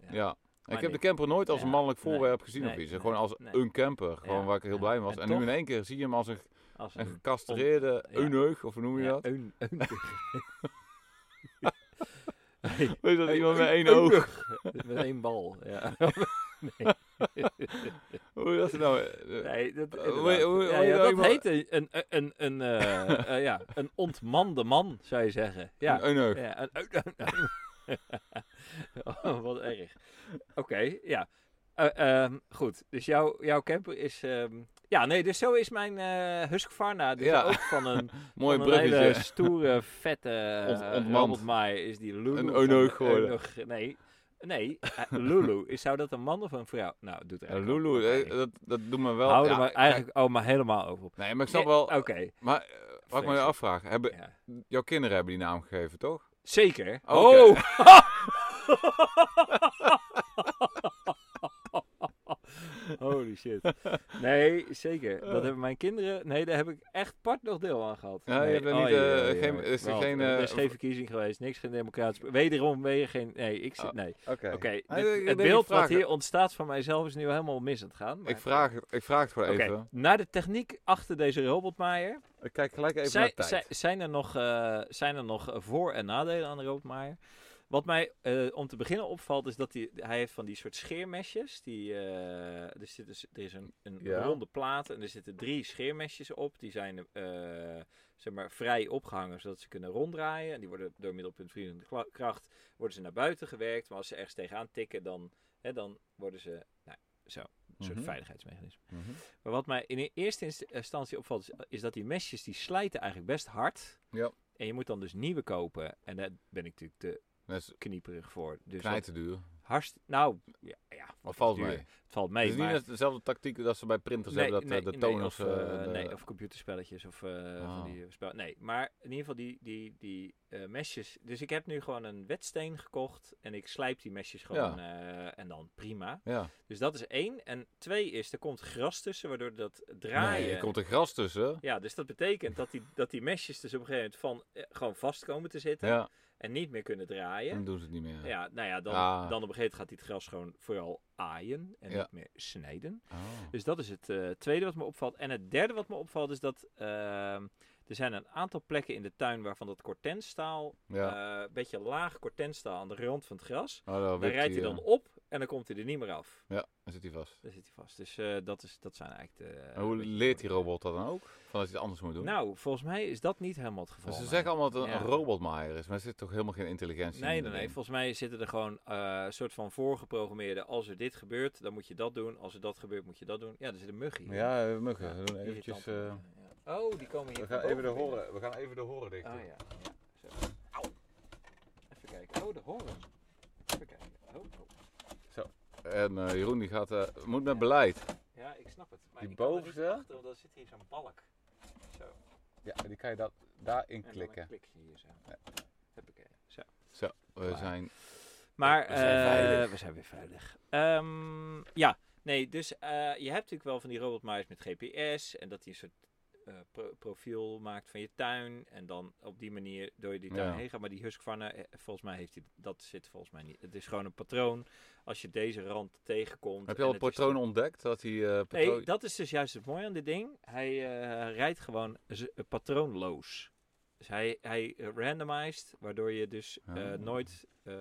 S2: Ja.
S1: Ja.
S2: Ik
S1: Maar
S2: heb
S1: nee.
S2: de camper nooit als een
S1: Ja,
S2: mannelijk
S1: nee,
S2: voorwerp gezien
S1: nee,
S2: of iets.
S1: nee,
S2: gewoon als
S1: nee.
S2: een camper, gewoon
S1: Ja,
S2: waar ik heel
S1: ja.
S2: blij mee was. En,
S1: En
S2: nu
S1: toch-
S2: in één keer zie je hem als een,
S1: Als
S2: een
S1: een
S2: gecastreerde
S1: ja.
S2: euneug, of hoe noem je
S1: Ja,
S2: dat?
S1: Een, een,
S2: Weet je dat
S1: Een-
S2: iemand met
S1: een-
S2: één
S1: een
S2: oog?
S1: met één bal. Ja.
S2: Hoe dat ze nou? eh,
S1: Nee, dat, inderdaad.
S2: Eh, hoe- hoe- hoe
S1: ja,
S2: je
S1: ja,
S2: nou
S1: dat
S2: iemand-
S1: heet een, een, een, een, eh, eh, ja, een ontmande man, zou je zeggen. Ja,
S2: Een euneug.
S1: ja een, oh, wat erg. Oké, ja. Eh, ehm, goed, dus jouw, jouw camper is... ehm, ja, nee, dus zo is mijn eh Husqvarna dus
S2: Ja.
S1: ook van een,
S2: Mooi
S1: van een
S2: bruggetje.
S1: hele stoere, vette
S2: Ont-
S1: eh,
S2: ontmand.
S1: Robert Maai is die Lulu.
S2: Een
S1: van
S2: eunuch
S1: de
S2: geworden.
S1: eunuch- nee, nee eh, Lulu. Is, zou dat een man of een vrouw? Nou, het doet
S2: Ja,
S1: eigenlijk ook
S2: Lulu,
S1: niet.
S2: eh, dat, dat doet me wel...
S1: Houden
S2: ja,
S1: maar eigenlijk oh, maar helemaal over op.
S2: kijk, Nee, maar ik snap wel...
S1: Oké.
S2: Maar eh, wat ik me
S1: Vreselijk.
S2: afvraag, hebben,
S1: ja.
S2: jouw kinderen hebben die naam gegeven, toch?
S1: Zeker.
S2: Oké.
S1: Oh! Holy shit. Nee, zeker. Dat hebben mijn kinderen. Nee, daar heb ik echt part nog deel aan gehad.
S2: Ja, je
S1: nee.
S2: hebt er
S1: Oh,
S2: niet,
S1: jee,
S2: eh,
S1: jee,
S2: geen-
S1: jee.
S2: is er
S1: Want,
S2: geen,
S1: eh, Er
S2: eh,
S1: is geen verkiezing geweest, niks geen democratisch. Wederom ben je geen. Nee, ik zit.
S2: Oh,
S1: Nee.
S2: Oké.
S1: Oké. dit-
S2: ik- ik
S1: het
S2: denk, ik
S1: beeld
S2: vraag
S1: wat
S2: het.
S1: hier ontstaat van mijzelf is nu helemaal mis aan het gaan. maar-
S2: Ik, vraag, het- ik vraag het gewoon
S1: Oké,
S2: even.
S1: naar de techniek achter deze robotmaaier.
S2: Ik kijk gelijk even
S1: Zij-
S2: naar de tijd.
S1: zij- zijn, er nog, eh, zijn er nog voor- en nadelen aan de roodmaaier? Wat mij eh, om te beginnen opvalt is dat hij, hij heeft van die soort scheermesjes. Die, eh, er, zit dus, er is een, een
S2: Ja.
S1: ronde plaat en er zitten drie scheermesjes op. Die zijn eh, zeg maar, vrij opgehangen zodat ze kunnen ronddraaien. En die worden door middel van vriendelijke kla- kracht worden ze naar buiten gewerkt. Maar als ze ergens tegenaan tikken, dan, hè, dan worden ze nou, zo, een soort
S2: Mhm.
S1: veiligheidsmechanisme.
S2: Mhm.
S1: Maar wat mij in e- eerste inst- eh, instantie opvalt, is, is dat die mesjes die slijten eigenlijk best hard.
S2: Ja.
S1: En je moet dan dus nieuwe kopen. En daar ben ik natuurlijk te
S2: Dat is
S1: knieperig voor. Dus
S2: knijt te duur.
S1: dat hartst- Nou, ja, ja
S2: Wat valt
S1: duur.
S2: mee?
S1: het valt
S2: het
S1: mee.
S2: is
S1: maar-
S2: niet dezelfde tactiek dat ze bij printers hebben, dat eh, de toners...
S1: Nee, of, eh,
S2: eh, de-
S1: nee, of computerspelletjes of eh,
S2: Ah.
S1: van die spel. Nee, maar in ieder geval die, die, die eh, mesjes. Dus ik heb nu gewoon een wetsteen gekocht. En ik slijp die mesjes gewoon. eh, en dan prima.
S2: ja.
S1: Dus dat is één. En twee is, er komt gras tussen, waardoor dat draaien.
S2: Nee, er komt er gras tussen.
S1: Ja, dus dat betekent dat die, dat die mesjes dus op een gegeven moment van, eh, gewoon vast komen te zitten
S2: Ja,
S1: en niet meer kunnen draaien.
S2: dan doen ze het niet meer.
S1: Ja, nou ja, dan,
S2: Ah.
S1: dan op een gegeven moment gaat die het gras gewoon vooral aaien en
S2: Ja.
S1: niet meer snijden.
S2: Oh.
S1: Dus dat is het eh, tweede wat me opvalt. En het derde wat me opvalt is dat ehm, er zijn een aantal plekken in de tuin waarvan dat cortenstaal,
S2: Ja.
S1: eh, een beetje laag cortenstaal aan de rand van het gras,
S2: Oh, dan
S1: daar
S2: wipt
S1: rijdt hij
S2: eh,
S1: dan op en dan komt hij er niet meer af.
S2: Ja, dan zit hij vast.
S1: Daar zit hij vast. Dus eh, dat, is, dat zijn eigenlijk de...
S2: En hoe leert die robot dat dan ook? Van dat hij het anders moet doen?
S1: Nou, volgens mij is dat niet helemaal het geval.
S2: ze
S1: nee.
S2: zeggen allemaal dat het een
S1: Ja.
S2: robotmaaier is, maar er zit toch helemaal geen intelligentie
S1: Nee,
S2: in?
S1: nee,
S2: dat
S1: nee.
S2: ding?
S1: Volgens mij zitten er gewoon eh soort van voorgeprogrammeerde. Als er dit gebeurt, dan moet je dat doen. Als er dat gebeurt, moet je dat doen. Ja, er zit een muggie.
S2: Ja, eh, muggen. We doen
S1: Irritant.
S2: eventjes... eh,
S1: Ja. Oh, die komen hier.
S2: we
S1: van
S2: gaan
S1: boven
S2: even de
S1: binnen.
S2: horen, we gaan even de horen dicht
S1: Ah
S2: doen.
S1: ja. ja. Zo. Au. Even kijken. Oh, de horen. Even kijken. Oh, oh.
S2: En eh, Jeroen die gaat, eh, moet met beleid.
S1: Ja, ik snap het. Maar
S2: Die
S1: ik kan er
S2: bovenste?
S1: niet Achter, want dan zit hier zo'n balk. Zo. En
S2: Ja, die kan je dat, daarin
S1: dan
S2: klikken.
S1: een klikje hier zo.
S2: Ja.
S1: Huppakee. Zo.
S2: Zo, we
S1: Klaar.
S2: zijn...
S1: Maar
S2: We zijn
S1: eh,
S2: veilig.
S1: we zijn weer veilig. Ehm, ja, nee, dus eh, je hebt natuurlijk wel van die robotmuis met GPS en dat die een soort eh, pro- profiel maakt van je tuin en dan op die manier door je die tuin
S2: Ja.
S1: heen gaat. Maar die Husqvarna, eh, volgens mij heeft die, dat zit volgens mij niet. Het is gewoon een patroon. Als je deze rand tegenkomt.
S2: Heb je al
S1: en
S2: een
S1: het is
S2: patroon ontdekt? Dat hij eh
S1: Nee,
S2: patroon...
S1: dat is dus juist het mooie aan dit ding. Hij eh, rijdt gewoon z- eh, patroonloos. Dus hij, hij eh, randomized, waardoor je dus eh,
S2: Ah.
S1: nooit, eh,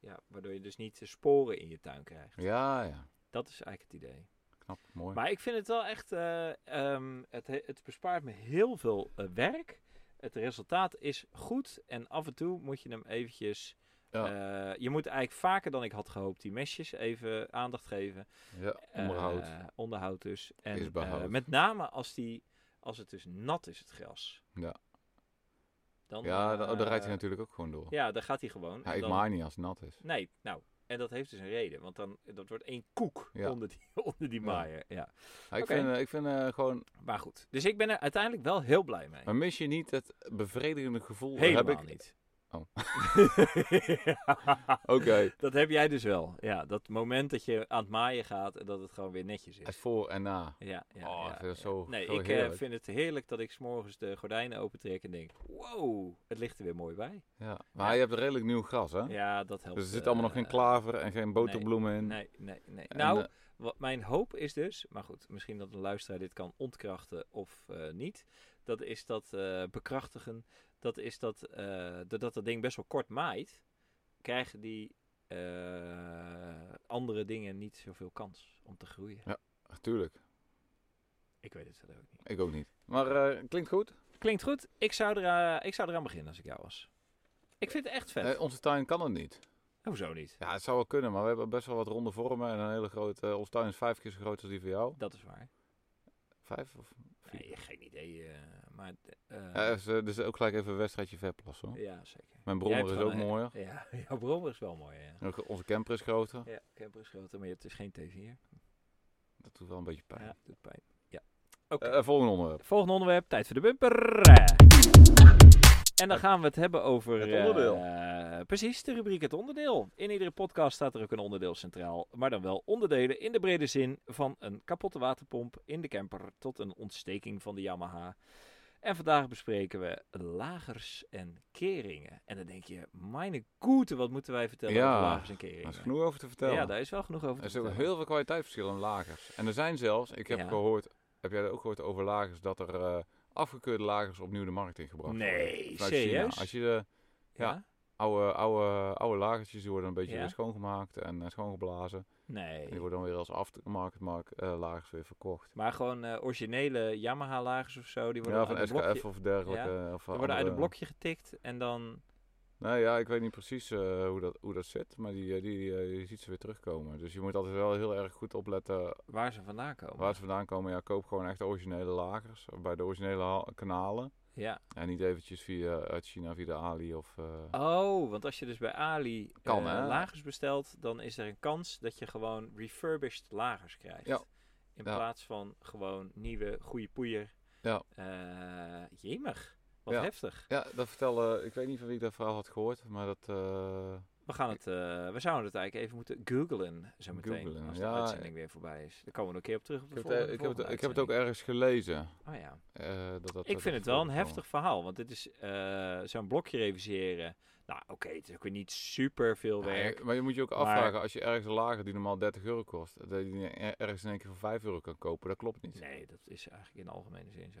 S1: ja, waardoor je dus niet eh, sporen in je tuin krijgt.
S2: Ja, ja.
S1: Dat is eigenlijk het idee.
S2: knap, mooi.
S1: Maar ik vind het wel echt, eh, ehm, het, he- het bespaart me heel veel eh, werk. Het resultaat is goed en af en toe moet je hem eventjes... eh, je moet eigenlijk vaker dan ik had gehoopt die mesjes even aandacht geven.
S2: ja, onderhoud.
S1: Eh, onderhoud dus. En
S2: Is behoud.
S1: eh, met name als, die, als het dus nat is, het gras.
S2: Ja.
S1: Dan,
S2: ja, dan, oh, dan
S1: eh,
S2: rijdt hij natuurlijk ook gewoon door.
S1: Ja, daar gaat hij gewoon.
S2: hij
S1: En
S2: ik
S1: dan-
S2: maai niet als het nat is.
S1: Nee, nou. En dat heeft dus een reden, want dan dat wordt één koek
S2: Ja.
S1: onder die, onder die
S2: Ja.
S1: maaier. Ja.
S2: Ja, ik
S1: Oké.
S2: vind, eh, ik vind eh, gewoon,
S1: Maar goed, dus ik ben er uiteindelijk wel heel blij mee.
S2: maar mis je niet het bevredigende gevoel?
S1: Helemaal
S2: heb ik,
S1: niet.
S2: Oh.
S1: Ja,
S2: Oké,
S1: dat heb jij dus wel. Ja, dat moment dat je aan het maaien gaat en dat het gewoon weer netjes
S2: het
S1: is.
S2: voor en na.
S1: Ja, ja,
S2: Oh,
S1: ja,
S2: ik vind dat
S1: ja.
S2: zo-
S1: Nee,
S2: zo
S1: ik eh,
S2: heerlijk.
S1: vind het heerlijk dat ik s'morgens de gordijnen opentrek en denk, wow, het ligt er weer mooi bij.
S2: Ja. Maar je hebt redelijk nieuw gras, hè?
S1: Ja, dat helpt.
S2: Dus er zit
S1: eh,
S2: allemaal nog geen klaver en geen boterbloemen in.
S1: Nee, nee, nee.
S2: En,
S1: nou,
S2: eh,
S1: Wat mijn hoop is dus, maar goed, misschien dat een luisteraar dit kan ontkrachten of eh, niet. Dat is dat eh, bekrachtigen. Dat is dat, eh, doordat dat ding best wel kort maait, krijgen die eh, andere dingen niet zoveel kans om te groeien.
S2: tuurlijk.
S1: Ik weet het zelf ook niet.
S2: Ik ook niet. Maar eh, klinkt goed.
S1: Klinkt goed. Ik zou, er, eh, ik zou eraan beginnen als ik jou was. Ik vind het echt vet.
S2: Eh, onze tuin kan het niet.
S1: Hoezo niet?
S2: Ja, het zou wel kunnen, maar we hebben best wel wat ronde vormen en een hele grote... eh, onze tuin is vijf keer zo groot als die van jou.
S1: Dat is waar.
S2: Vijf of vier?
S1: Nee, geen idee. eh, maar, eh,
S2: Ja, dus, eh, dus ook gelijk even een wedstrijdje verplassen. hoor.
S1: ja, zeker.
S2: Mijn
S1: Jij hebt
S2: brommer is
S1: gewoon
S2: ook
S1: een-
S2: mooier.
S1: Ja, jouw brommer is wel mooi. Ja.
S2: En ook Onze camper is groter.
S1: Ja, ik heb geschoten, maar je hebt dus geen T4.
S2: Dat doet wel een beetje pijn.
S1: Ja, doet pijn. Ja. Oké.
S2: Eh, volgende onderwerp.
S1: Volgende onderwerp, tijd voor de bumper. En dan gaan we het hebben over...
S2: Het onderdeel.
S1: eh, precies, de rubriek het onderdeel. In iedere podcast staat er ook een onderdeel centraal. Maar dan wel onderdelen in de brede zin van een kapotte waterpomp in de camper tot een ontsteking van de Yamaha. En vandaag bespreken we lagers en keringen. En dan denk je, mijn goede, wat moeten wij vertellen
S2: Ja,
S1: over lagers en
S2: Daar is
S1: keringen?
S2: genoeg over te vertellen.
S1: Ja, daar is wel genoeg over
S2: er
S1: te
S2: is ook
S1: vertellen.
S2: heel veel kwaliteitsverschil in lagers. En er zijn zelfs, ik heb
S1: Ja.
S2: gehoord, heb jij dat ook gehoord over lagers, dat er eh, afgekeurde lagers opnieuw de markt ingebracht worden.
S1: Nee,
S2: Vanuit China.
S1: serieus?
S2: Als je de ja. oude, oude, oude lagertjes, die worden een beetje
S1: Ja.
S2: weer schoongemaakt en eh, schoongeblazen. En
S1: Nee.
S2: die worden dan weer als aftermarket mark, eh, lagers weer verkocht.
S1: Maar gewoon eh, originele Yamaha-lagers of zo, die worden
S2: Ja,
S1: uit
S2: van
S1: een blokje,
S2: SKF of dergelijke. eh, Of
S1: die worden uit een
S2: andere-
S1: blokje getikt en dan...
S2: Nou ja, ik weet niet precies eh, hoe, dat, hoe dat zit, maar die, eh, die, eh, je ziet ze weer terugkomen. Dus je moet altijd wel heel erg goed opletten
S1: waar ze vandaan komen.
S2: waar ze vandaan komen. Ja, koop gewoon echt originele lagers bij de originele ha- kanalen.
S1: Ja.
S2: En niet eventjes via uit China, via de Ali of... eh,
S1: Oh, want als je dus bij Ali eh,
S2: Kan, hè?
S1: lagers bestelt, dan is er een kans dat je gewoon refurbished lagers krijgt.
S2: Ja.
S1: In
S2: Ja.
S1: plaats van gewoon nieuwe, goede poeier.
S2: Ja.
S1: Eh, jemig. Wat
S2: Ja.
S1: heftig.
S2: Ja, dat vertelde... Ik weet niet van wie ik dat verhaal had gehoord, maar dat... eh,
S1: We, gaan het, eh, we zouden het eigenlijk even moeten googlen zo meteen.
S2: Googlen,
S1: als de
S2: ja,
S1: uitzending weer voorbij is. Daar komen we nog een keer op terug. Op
S2: ik,
S1: de
S2: heb het, eh,
S1: volgende-
S2: ik, heb het,
S1: volgende
S2: ik heb het ook
S1: uitzending.
S2: ergens gelezen.
S1: Oh ja.
S2: eh, dat, dat,
S1: Ik
S2: dat
S1: vind het wel een
S2: voorkwam.
S1: heftig verhaal, want dit is eh, zo'n blokje reviseren. Nou, oké, het is ook weer niet super veel
S2: Ja,
S1: werk.
S2: maar je moet je ook
S1: Maar-
S2: afvragen, als je ergens een lager die normaal 30 euro kost, dat je die er- ergens in één keer voor 5 euro kan kopen, dat klopt niet.
S1: Nee, dat is eigenlijk in algemene zin zo.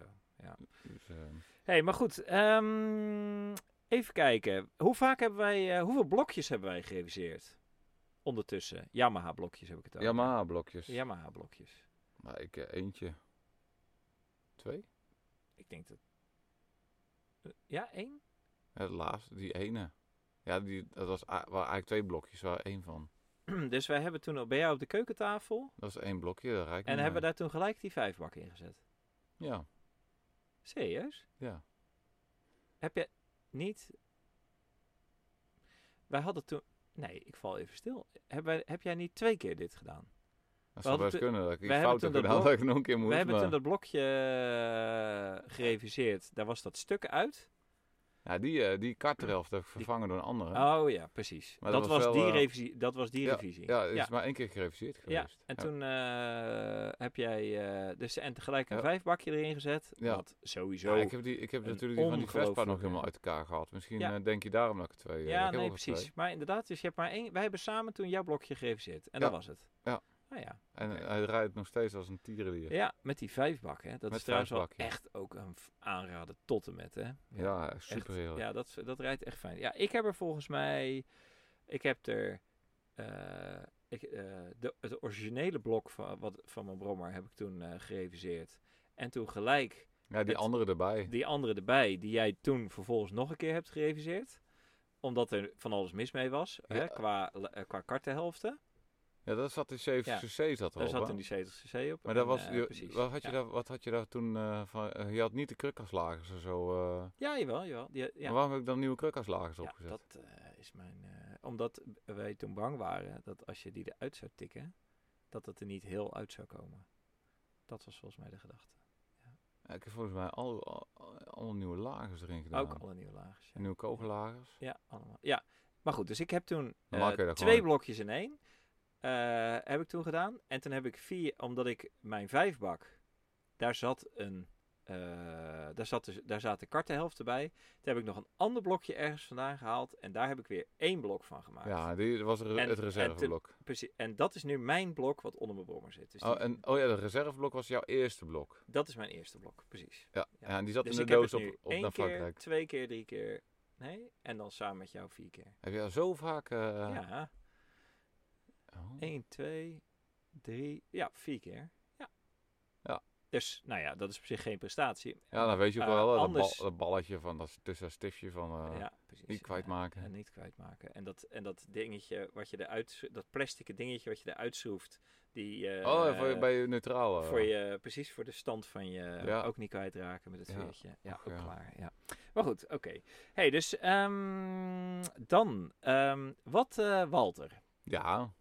S2: Dus, ehm,
S1: Hé, hey, maar goed. ehm, even kijken. Hoe vaak hebben wij, eh, hoeveel blokjes hebben wij gereviseerd? Ondertussen. Yamaha-blokjes heb ik het over.
S2: Yamaha-blokjes.
S1: Yamaha-blokjes.
S2: Maar ik eh, eentje. Twee?
S1: Ik denk dat... Eh, Ja, één?
S2: Het laatste, die ene. Ja, die, dat was a- waren eigenlijk twee blokjes, waar één van.
S1: dus wij hebben toen al bij jou op de keukentafel.
S2: Dat is één blokje, daar rijk
S1: En hebben we daar toen gelijk die vijf bakken in gezet.
S2: Ja,
S1: Serieus?
S2: ja.
S1: Heb je niet. Wij hadden toen. Nee, ik val even stil. Heb, wij, heb jij niet twee keer dit gedaan? hadden
S2: Dat zou best
S1: toen-
S2: kunnen, dat ik iets
S1: hebben
S2: fout
S1: toen
S2: heb
S1: dat
S2: gedaan,
S1: blok-
S2: dat ik nog een keer moet.
S1: We hebben
S2: maar-
S1: toen dat blokje eh, gereviseerd. Daar was dat stuk uit.
S2: Ja, die, eh die kartrelf heb ik vervangen door een andere.
S1: Oh ja, precies.
S2: Maar
S1: Dat,
S2: dat was
S1: was
S2: wel,
S1: die
S2: eh,
S1: revisie, dat was die revisie.
S2: ja, het is
S1: ja.
S2: maar één keer gereviseerd
S1: Ja,
S2: geweest.
S1: en toen eh, heb jij eh, dus en tegelijk een
S2: Ja.
S1: vijfbakje erin gezet.
S2: Ja.
S1: Wat sowieso.
S2: Ja, ik heb, die, ik heb
S1: een
S2: natuurlijk die van die Vespa nog
S1: ongelooflijke-
S2: helemaal uit elkaar gehad. Misschien
S1: Ja.
S2: eh, denk je daarom dat ik er twee... eh,
S1: ja,
S2: ik heb
S1: nee,
S2: ook er twee.
S1: precies. Maar inderdaad, dus je hebt maar één. Wij hebben samen toen jouw blokje gereviseerd. En
S2: Ja.
S1: dat was het.
S2: Ja.
S1: Nou ja.
S2: En eh,
S1: Oké.
S2: hij rijdt nog steeds als een tierenlier. Ja,
S1: Ja, met die vijfbak, hè. Dat
S2: Met
S1: is trouwens wel
S2: vijfbak, ja.
S1: echt ook een v- aanrader tot en met, hè. echt.
S2: super heerlijk.
S1: Ja, dat, is- dat rijdt echt fijn. Ja, ik heb er volgens mij... Ik heb er eh, ik, eh, de, het originele blok van, wat, van mijn brommer heb ik toen eh, gereviseerd. En toen gelijk
S2: Ja, die
S1: Het-
S2: andere erbij.
S1: die andere erbij, die jij toen vervolgens nog een keer hebt gereviseerd. Omdat er van alles mis mee was,
S2: Ja.
S1: hè, qua, eh, qua kartenhelften.
S2: Ja, dat zat in 70cc zat
S1: Daar
S2: erop.
S1: zat
S2: hè?
S1: toen die 70cc op.
S2: Maar dat
S1: en,
S2: was,
S1: eh,
S2: je-
S1: precies.
S2: wat, had je
S1: ja.
S2: daar, wat had je daar toen eh, van? eh, je had niet de krukkerslagers en zo. eh.
S1: Ja, jawel, jawel. Die, ja.
S2: Maar waarom heb ik dan nieuwe krukkerslagers
S1: Ja,
S2: opgezet?
S1: dat eh, is mijn. eh, omdat wij toen bang waren dat als je die eruit zou tikken, dat het er niet heel uit zou komen. Dat was volgens mij de gedachte.
S2: Ja, Ik heb volgens mij al, al, allemaal nieuwe lagers erin gedaan.
S1: Ook alle nieuwe lagers. Ja.
S2: Nieuwe kogellagers.
S1: ja, allemaal. Ja, maar goed, dus ik heb toen
S2: Dan
S1: eh,
S2: maak je dat
S1: twee
S2: gewoon.
S1: blokjes in één. eh, heb ik toen gedaan. En toen heb ik vier, omdat ik mijn vijfbak, daar zat een. eh, daar, zat dus, daar zaten kartenhelften bij. Toen heb ik nog een ander blokje ergens vandaan gehaald. En daar heb ik weer één blok van gemaakt.
S2: Ja, die dat was re-
S1: En-
S2: het
S1: en
S2: reserveblok.
S1: Precies. En dat is nu mijn blok wat onder mijn brommer zit. Dus die-
S2: oh, en, oh ja, het reserveblok was jouw eerste blok.
S1: dat is mijn eerste blok, precies.
S2: Ja,
S1: Ja.
S2: ja. en die zat
S1: dus
S2: in
S1: ik
S2: de
S1: heb
S2: doos
S1: het
S2: op,
S1: nu
S2: op
S1: één
S2: naar
S1: keer,
S2: Frankrijk.
S1: twee keer, drie keer. Nee, en dan samen met jou vier keer.
S2: Heb je al zo vaak... eh,
S1: Ja,
S2: oh.
S1: één, twee, drie, ja, vier keer. Ja.
S2: Ja.
S1: Dus, nou ja, dat is op zich geen prestatie.
S2: Ja, dan weet je ook
S1: Eh,
S2: wel hè, dat,
S1: anders-
S2: bal- dat balletje van dat tussen dat stiftje van eh
S1: ja, precies.
S2: niet kwijtmaken.
S1: En niet kwijtmaken. En dat, en dat dingetje wat je eruit, schro- dat plastic dingetje wat je eruit schroeft, die... eh,
S2: oh, ja, voor, je- bij je neutraal. eh.
S1: Voor je, precies voor de stand van je
S2: Ja.
S1: ook niet kwijtraken met het
S2: Ja.
S1: veertje. Ja,
S2: Och,
S1: ook
S2: ja.
S1: klaar. Ja. Maar goed, oké. Hey, dus ehm, dan, ehm, wat eh, Walter,
S2: Ja,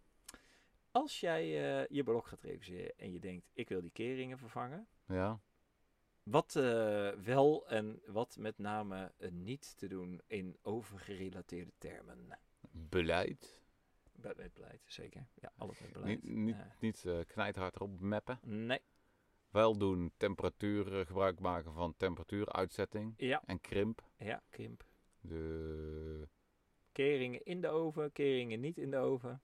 S1: als jij eh, je blok gaat reviseren en je denkt, ik wil die keringen vervangen.
S2: ja.
S1: Wat eh, wel en wat met name eh, niet te doen in overgerelateerde termen.
S2: Beleid.
S1: Met, met beleid, zeker. Ja, alles met beleid.
S2: Niet, niet,
S1: Ja.
S2: niet eh, knijterhard erop mappen.
S1: nee,
S2: Wel doen temperatuur, eh, gebruik maken van temperatuuruitzetting
S1: ja,
S2: en krimp.
S1: ja, krimp.
S2: De,
S1: Keringen in de oven, keringen niet in de oven.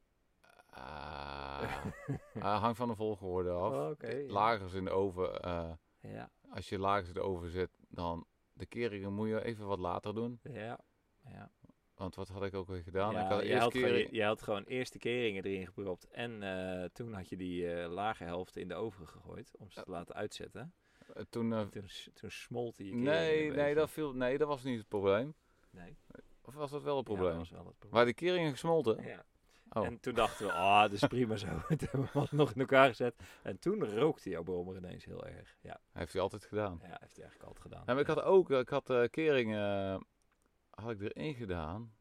S2: ah, ah, hangt van de volgorde af.
S1: Oh, oké,
S2: De
S1: ja.
S2: Lagers in de oven. eh,
S1: Ja,
S2: als je lagers in de oven zet, dan de keringen moet je even wat later doen.
S1: ja, ja.
S2: Want wat had ik ook weer gedaan?
S1: Ja,
S2: ik had de
S1: je,
S2: eerste
S1: had gewoon,
S2: kering-
S1: je, je had gewoon eerste keringen erin gepropt. En eh, toen had je die eh, lage helft in de oven gegooid om ze te laten uitzetten.
S2: eh, toen... eh,
S1: Toen, s- toen smolt die kering.
S2: nee,
S1: een
S2: nee,
S1: beetje.
S2: dat viel, nee, dat was niet het probleem.
S1: nee.
S2: Of was dat wel het
S1: Ja, dat
S2: probleem?
S1: was wel het probleem.
S2: Waar de keringen gesmolten?
S1: Ja.
S2: Oh.
S1: En toen dachten we, ah, dat is prima zo. toen hebben we alles nog in elkaar gezet. En toen rookte jouw brommer ineens heel erg. Ja,
S2: Heeft hij altijd gedaan.
S1: ja heeft hij eigenlijk altijd gedaan.
S2: Ja, maar ik had ook, ik had eh keringen eh, had ik erin gedaan.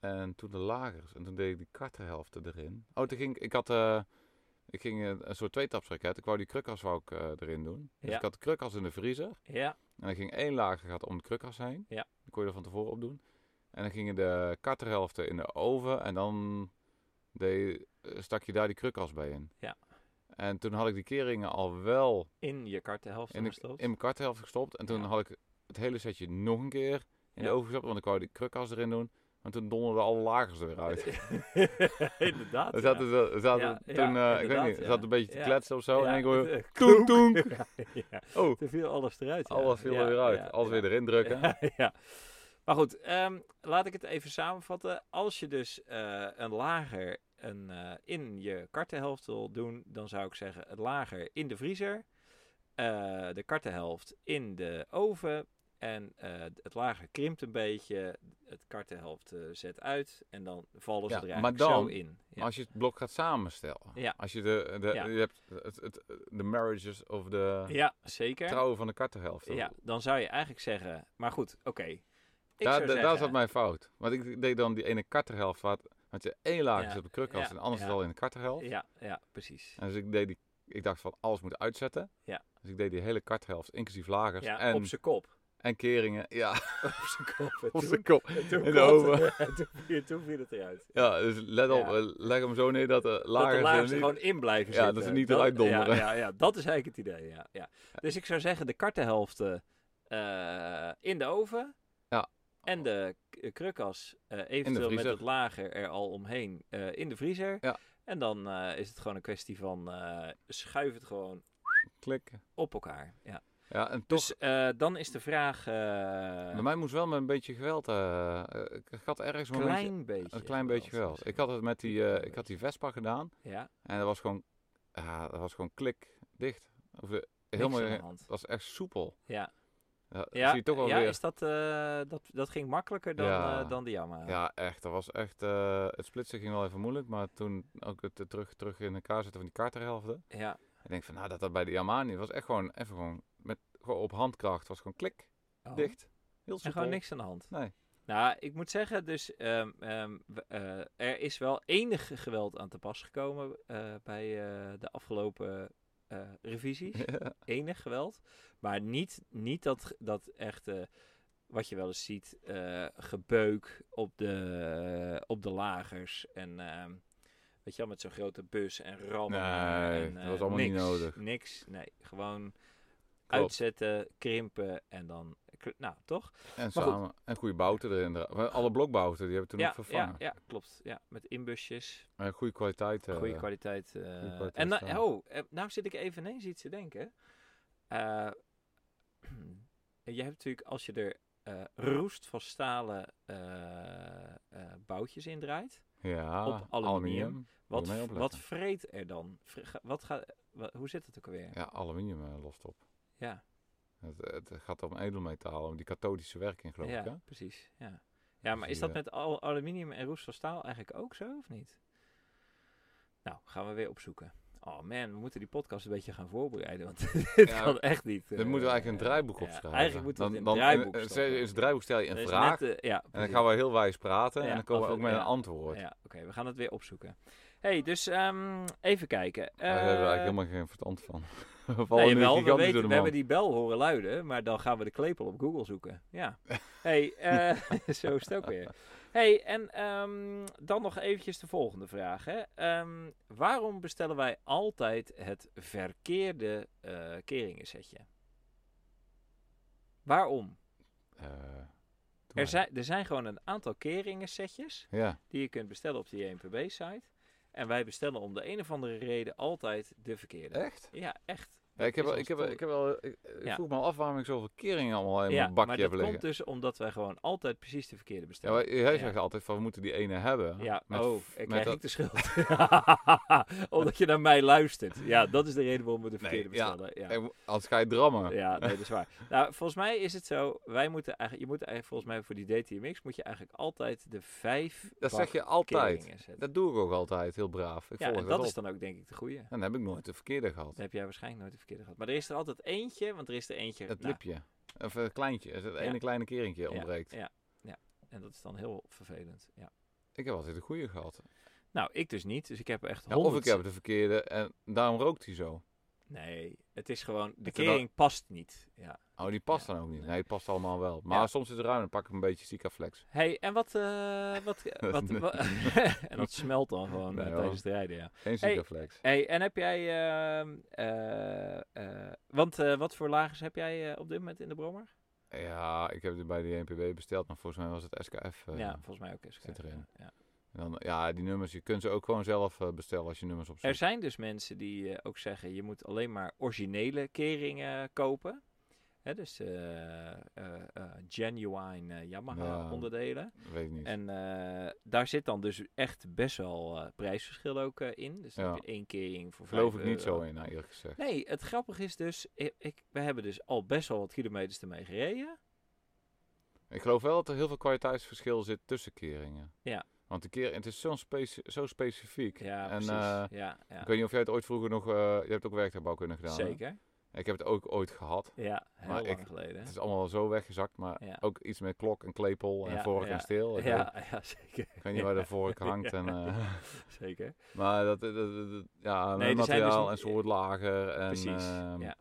S2: En toen de lagers. En toen deed ik die kartenhelften erin. Oh, toen ging ik, ik had, eh, ik ging eh, een soort tweetapsraket. Ik wou die krukas wou ik, eh, erin doen. Dus
S1: Ja.
S2: ik had de krukas in de vriezer.
S1: Ja,
S2: En dan ging één lager gaat om de krukas heen.
S1: Ja.
S2: Die kon je er van tevoren op doen. En dan gingen de kartenhelften in de oven. En dan deed, eh, stak je daar die krukas bij in.
S1: Ja.
S2: En toen had ik die keringen al wel
S1: in je kartenhelft
S2: in, de,
S1: gestopt.
S2: in mijn karthelft gestopt. En toen
S1: Ja.
S2: had ik het hele setje nog een keer in de
S1: Ja.
S2: oven gestopt. Want ik wou die krukkas erin doen. Maar toen donderden alle lagers er weer uit.
S1: Inderdaad.
S2: We zaten, zo- we zaten
S1: Ja, ja,
S2: toen, eh, ik weet
S1: inderdaad,
S2: niet, we
S1: ja.
S2: zaten een beetje te
S1: Ja.
S2: kletsen of zo.
S1: Ja,
S2: en ik hoor,
S1: het, eh,
S2: toeng,
S1: klonk.
S2: toeng.
S1: ja.
S2: oh,
S1: Toen viel alles eruit. ja.
S2: alles viel
S1: Ja,
S2: er weer uit.
S1: ja,
S2: alles
S1: ja.
S2: weer erin drukken.
S1: Ja, ja. Maar goed, ehm, laat ik het even samenvatten. Als je dus eh, een lager een, eh, in je kartenhelft wil doen, dan zou ik zeggen het lager in de vriezer, eh, de kartenhelft in de oven en eh, het lager krimpt een beetje, het kartenhelft eh, zet uit en dan vallen ze
S2: Ja,
S1: er
S2: maar
S1: eigenlijk
S2: dan,
S1: zo in. Ja.
S2: Als je het blok gaat samenstellen.
S1: Ja.
S2: Als je de, de,
S1: Ja.
S2: je hebt het, het, de marriages of de
S1: ja, zeker.
S2: trouwen van de kartenhelft.
S1: Ja, dan zou je eigenlijk zeggen, maar goed, oké. Ik
S2: Daar,
S1: zou
S2: da- daar
S1: zeggen-
S2: zat mijn fout. Want ik deed dan die ene karterhelft. Waar, het- want je één laag
S1: Ja,
S2: zit op de krukas
S1: ja,
S2: en anders is
S1: ja.
S2: het al in de karterhelft.
S1: Ja, ja, precies.
S2: En dus ik, deed die, ik dacht van alles moet uitzetten.
S1: Ja.
S2: Dus ik deed die hele karthelft, inclusief lagers
S1: Ja,
S2: en,
S1: op zijn kop.
S2: en keringen. Ja,
S1: op zijn kop. En
S2: op
S1: toen-
S2: zijn kop.
S1: en toen
S2: in de
S1: klapte-
S2: oven.
S1: en toen, viel- toen viel het eruit.
S2: Ja, dus let op,
S1: Ja.
S2: eh, leg hem zo neer dat de
S1: dat de
S2: lagers,
S1: lagers
S2: er
S1: er
S2: niet...
S1: gewoon in blijven
S2: Ja,
S1: zitten.
S2: dat ze niet eruit donderen.
S1: Ja, ja, ja, dat is eigenlijk het idee. Ja, ja. Dus ik zou zeggen, de kartenhelften eh, in de oven.
S2: Ja.
S1: En de k- krukas eh, eventueel met
S2: vriezer.
S1: het lager er al omheen eh, in de vriezer.
S2: Ja.
S1: En dan eh, is het gewoon een kwestie van eh, schuif het gewoon
S2: Klik.
S1: op elkaar. Ja.
S2: Ja, en toch,
S1: Dus eh, dan is de vraag... eh,
S2: bij mij moest wel met een beetje geweld. eh, eh, ik had ergens een momentje-
S1: klein beetje.
S2: een klein beetje geweld. Ik had het met die, eh, ik had die Vespa gedaan
S1: Ja,
S2: en dat was gewoon, ja, dat was gewoon klik dicht. Of, eh,
S1: helemaal
S2: helemaal,
S1: aan de
S2: dat
S1: hand.
S2: was echt soepel.
S1: Ja,
S2: Ja, dat
S1: ja,
S2: zie je toch wel
S1: ja
S2: weer.
S1: is dat, eh, dat, dat ging makkelijker dan,
S2: Ja.
S1: eh, dan de Yamaha.
S2: Ja, echt. Dat was echt. eh, het splitsen ging wel even moeilijk, maar toen ook het eh, terug, terug in elkaar zetten van die kaarterhelften.
S1: Ja.
S2: Ik denk van, nou, dat dat bij de Yamani was echt gewoon even gewoon met gewoon op handkracht was gewoon klik
S1: Oh.
S2: dicht, heel
S1: En
S2: soepel.
S1: gewoon niks aan de hand.
S2: Nee.
S1: Nou, ik moet zeggen, dus ehm, ehm, w- eh, er is wel enig geweld aan te pas gekomen eh, bij eh, de afgelopen eh, revisies.
S2: Ja.
S1: Enig geweld. Maar niet, niet dat, dat echt, eh, wat je wel eens ziet, eh, gebeuk op de, eh, op de lagers. En ehm, weet je wel, met zo'n grote bus en rammen.
S2: Nee,
S1: en,
S2: dat
S1: eh,
S2: was allemaal niet
S1: niks,
S2: nodig.
S1: Niks, nee. Gewoon
S2: Klopt.
S1: uitzetten, krimpen en dan... Nou, toch?
S2: En
S1: goed.
S2: samen en goede bouten erin. Maar Alle blokbouten die hebben we toen ook vervangen.
S1: Ja, ja, klopt. Ja, met inbusjes.
S2: En goede kwaliteit. eh,
S1: Goede kwaliteit. eh,
S2: kwaliteit
S1: en nou,
S2: staan.
S1: oh, eh, nou zit ik even ineens iets te denken. Eh, je hebt natuurlijk, als je er eh, roest van stalen eh, eh, boutjes in draait,
S2: ja,
S1: op aluminium. wat,
S2: je mee opletten.
S1: wat vreet er dan? Vre- ga- Wat gaat, wa- hoe zit het ook alweer?
S2: Ja, aluminium eh, lost op.
S1: Ja,
S2: Het, het gaat om edelmetaal, om die kathodische werking geloof ik. Hè?
S1: ja precies. Ja. ja, maar
S2: Dus,
S1: is dat
S2: eh,
S1: met al aluminium en roest van staal eigenlijk ook zo, of niet? Nou, gaan we weer opzoeken. Oh man, we moeten die podcast een beetje gaan voorbereiden, want dit
S2: Ja,
S1: kan echt niet. eh,
S2: Dan moeten we eigenlijk een draaiboek opschrijven.
S1: Eigenlijk moeten we
S2: dan,
S1: het
S2: dan,
S1: in het draaiboek
S2: eh,
S1: stoppen.
S2: In het draaiboek stel je
S1: Er
S2: een
S1: is net,
S2: vraag.
S1: eh, ja,
S2: En dan
S1: precies.
S2: gaan we heel wijs praten
S1: Ja,
S2: en dan komen
S1: af-
S2: we ook met
S1: ja.
S2: een antwoord.
S1: Ja, oké, we gaan het weer opzoeken. hey, dus ehm, even kijken.
S2: Daar hebben we
S1: Eh,
S2: eigenlijk helemaal geen verstand van. We vallen
S1: nee,
S2: nu
S1: jawel, we,
S2: gigantisch
S1: weten,
S2: door de
S1: we hebben
S2: man.
S1: die bel horen luiden, maar dan gaan we de klepel op Google zoeken. Ja. hey, eh, zo is het ook weer. hey, en ehm, dan nog eventjes de volgende vraag. Hè. Ehm, waarom bestellen wij altijd het verkeerde eh keringensetje? Waarom?
S2: Eh, doe maar.
S1: Er zijn, er zijn gewoon een aantal keringensetjes
S2: Ja,
S1: die je kunt bestellen op die E EMPB-site. En wij bestellen om de een of andere reden altijd de verkeerde.
S2: echt?
S1: Ja, echt.
S2: Ja, ik, heb,
S1: is
S2: wel-
S1: ons
S2: ik, heb, wel-
S1: tol-
S2: ik heb wel... Ik, ik
S1: Ja.
S2: vroeg me al af waarom ik zoveel keringen allemaal in
S1: ja,
S2: mijn bakje
S1: maar
S2: heb
S1: dat
S2: liggen.
S1: komt dus omdat wij gewoon altijd precies de verkeerde
S2: Ja,
S1: bestellen.
S2: maar jij
S1: Ja.
S2: zegt altijd van we moeten die ene hebben.
S1: Ja,
S2: Met
S1: oh,
S2: f-
S1: ik
S2: met
S1: krijg
S2: dat-
S1: ik de schuld. Omdat je naar mij luistert. Ja, dat is de reden waarom we de verkeerde
S2: Nee, ja.
S1: bestellen. Ja,
S2: Eh, Anders ga je drammen.
S1: ja nee, dat is waar. Nou, volgens mij is het zo, wij moeten eigenlijk, je moet eigenlijk, volgens mij voor die DTMX moet je eigenlijk altijd de vijf
S2: Dat zeg
S1: bak
S2: je altijd.
S1: keringen zetten.
S2: Dat doe ik ook altijd, heel braaf. Ik
S1: Ja,
S2: volg
S1: en
S2: het
S1: dat
S2: op.
S1: is dan ook denk ik de goede.
S2: Dan heb ik nooit de verkeerde gehad.
S1: Dat heb jij waarschijnlijk nooit de verkeerde gehad. Maar er is er altijd eentje, want er is er eentje.
S2: Het
S1: nou,
S2: lipje. Of het kleintje. Het ene kleine keringje ontbreekt.
S1: Ja, ja. En dat is dan heel vervelend. Ja.
S2: Ik heb altijd de goede gehad.
S1: Nou, ik dus niet. Dus ik heb echt
S2: Ja,
S1: honderd...
S2: of ik heb de verkeerde en daarom rookt hij zo.
S1: Nee, het is gewoon... De
S2: Het is
S1: kering past niet. Ja.
S2: Oh, die past
S1: Ja,
S2: dan ook niet.
S1: nee.
S2: Nee, het past allemaal wel. Maar
S1: Ja.
S2: soms is het ruim en dan pak ik een beetje Sikaflex.
S1: hey, en wat... eh, wat, eh, wat,
S2: Nee.
S1: wa- en dat smelt dan gewoon
S2: Nee,
S1: eh,
S2: hoor.
S1: tijdens het rijden, ja.
S2: Geen
S1: Hey.
S2: Sikaflex.
S1: hey, en heb jij... ehm, eh, eh, want eh, wat voor lagers heb jij eh, op dit moment in de Brommer?
S2: Ja, ik heb die bij de NPB besteld, maar volgens mij was het SKF. eh,
S1: ja, volgens mij ook. eens
S2: zit
S1: kijken,
S2: erin.
S1: ja, ja.
S2: en dan, ja, die nummers, je kunt ze ook gewoon zelf eh, bestellen als je nummers
S1: Er
S2: opzoekt.
S1: zijn dus mensen die eh, ook zeggen, je moet alleen maar originele keringen eh, kopen. Hè, dus eh, eh, eh, genuine eh, Yamaha
S2: Ja.
S1: onderdelen.
S2: Weet ik niet.
S1: En eh, daar zit dan dus echt best wel eh, prijsverschil ook eh, in. Dus dan
S2: Ja.
S1: heb je één kering voor
S2: Geloof ik
S1: 5
S2: niet
S1: euro.
S2: zo in, nou, eerlijk gezegd.
S1: eh, Nee, het grappige is dus, ik, ik- we hebben dus al best wel wat kilometers ermee gereden.
S2: Ik geloof wel dat er heel veel kwaliteitsverschil zit tussen keringen.
S1: Ja.
S2: Want de kering, het is zo, speci- zo specifiek.
S1: Ja,
S2: en,
S1: precies.
S2: eh,
S1: ja, ja.
S2: Ik weet niet of jij het ooit vroeger nog... eh, je hebt ook werktuigbouwkunde gedaan. hè?
S1: Zeker.
S2: Ik heb het ook ooit gehad.
S1: Ja, heel
S2: Maar
S1: lang
S2: ik-
S1: geleden.
S2: Het is allemaal zo weggezakt, maar
S1: Ja.
S2: ook iets met klok en klepel en
S1: Ja,
S2: vork
S1: ja,
S2: en steel. Ik, weet,
S1: Ja, ja, zeker.
S2: ik weet niet waar de vork hangt. En, eh,
S1: Zeker.
S2: maar dat, dat, dat- dat- ja,
S1: Nee, er zijn dus
S2: materiaal
S1: niet-
S2: en soort lager. En,
S1: Precies,
S2: ehm,
S1: ja.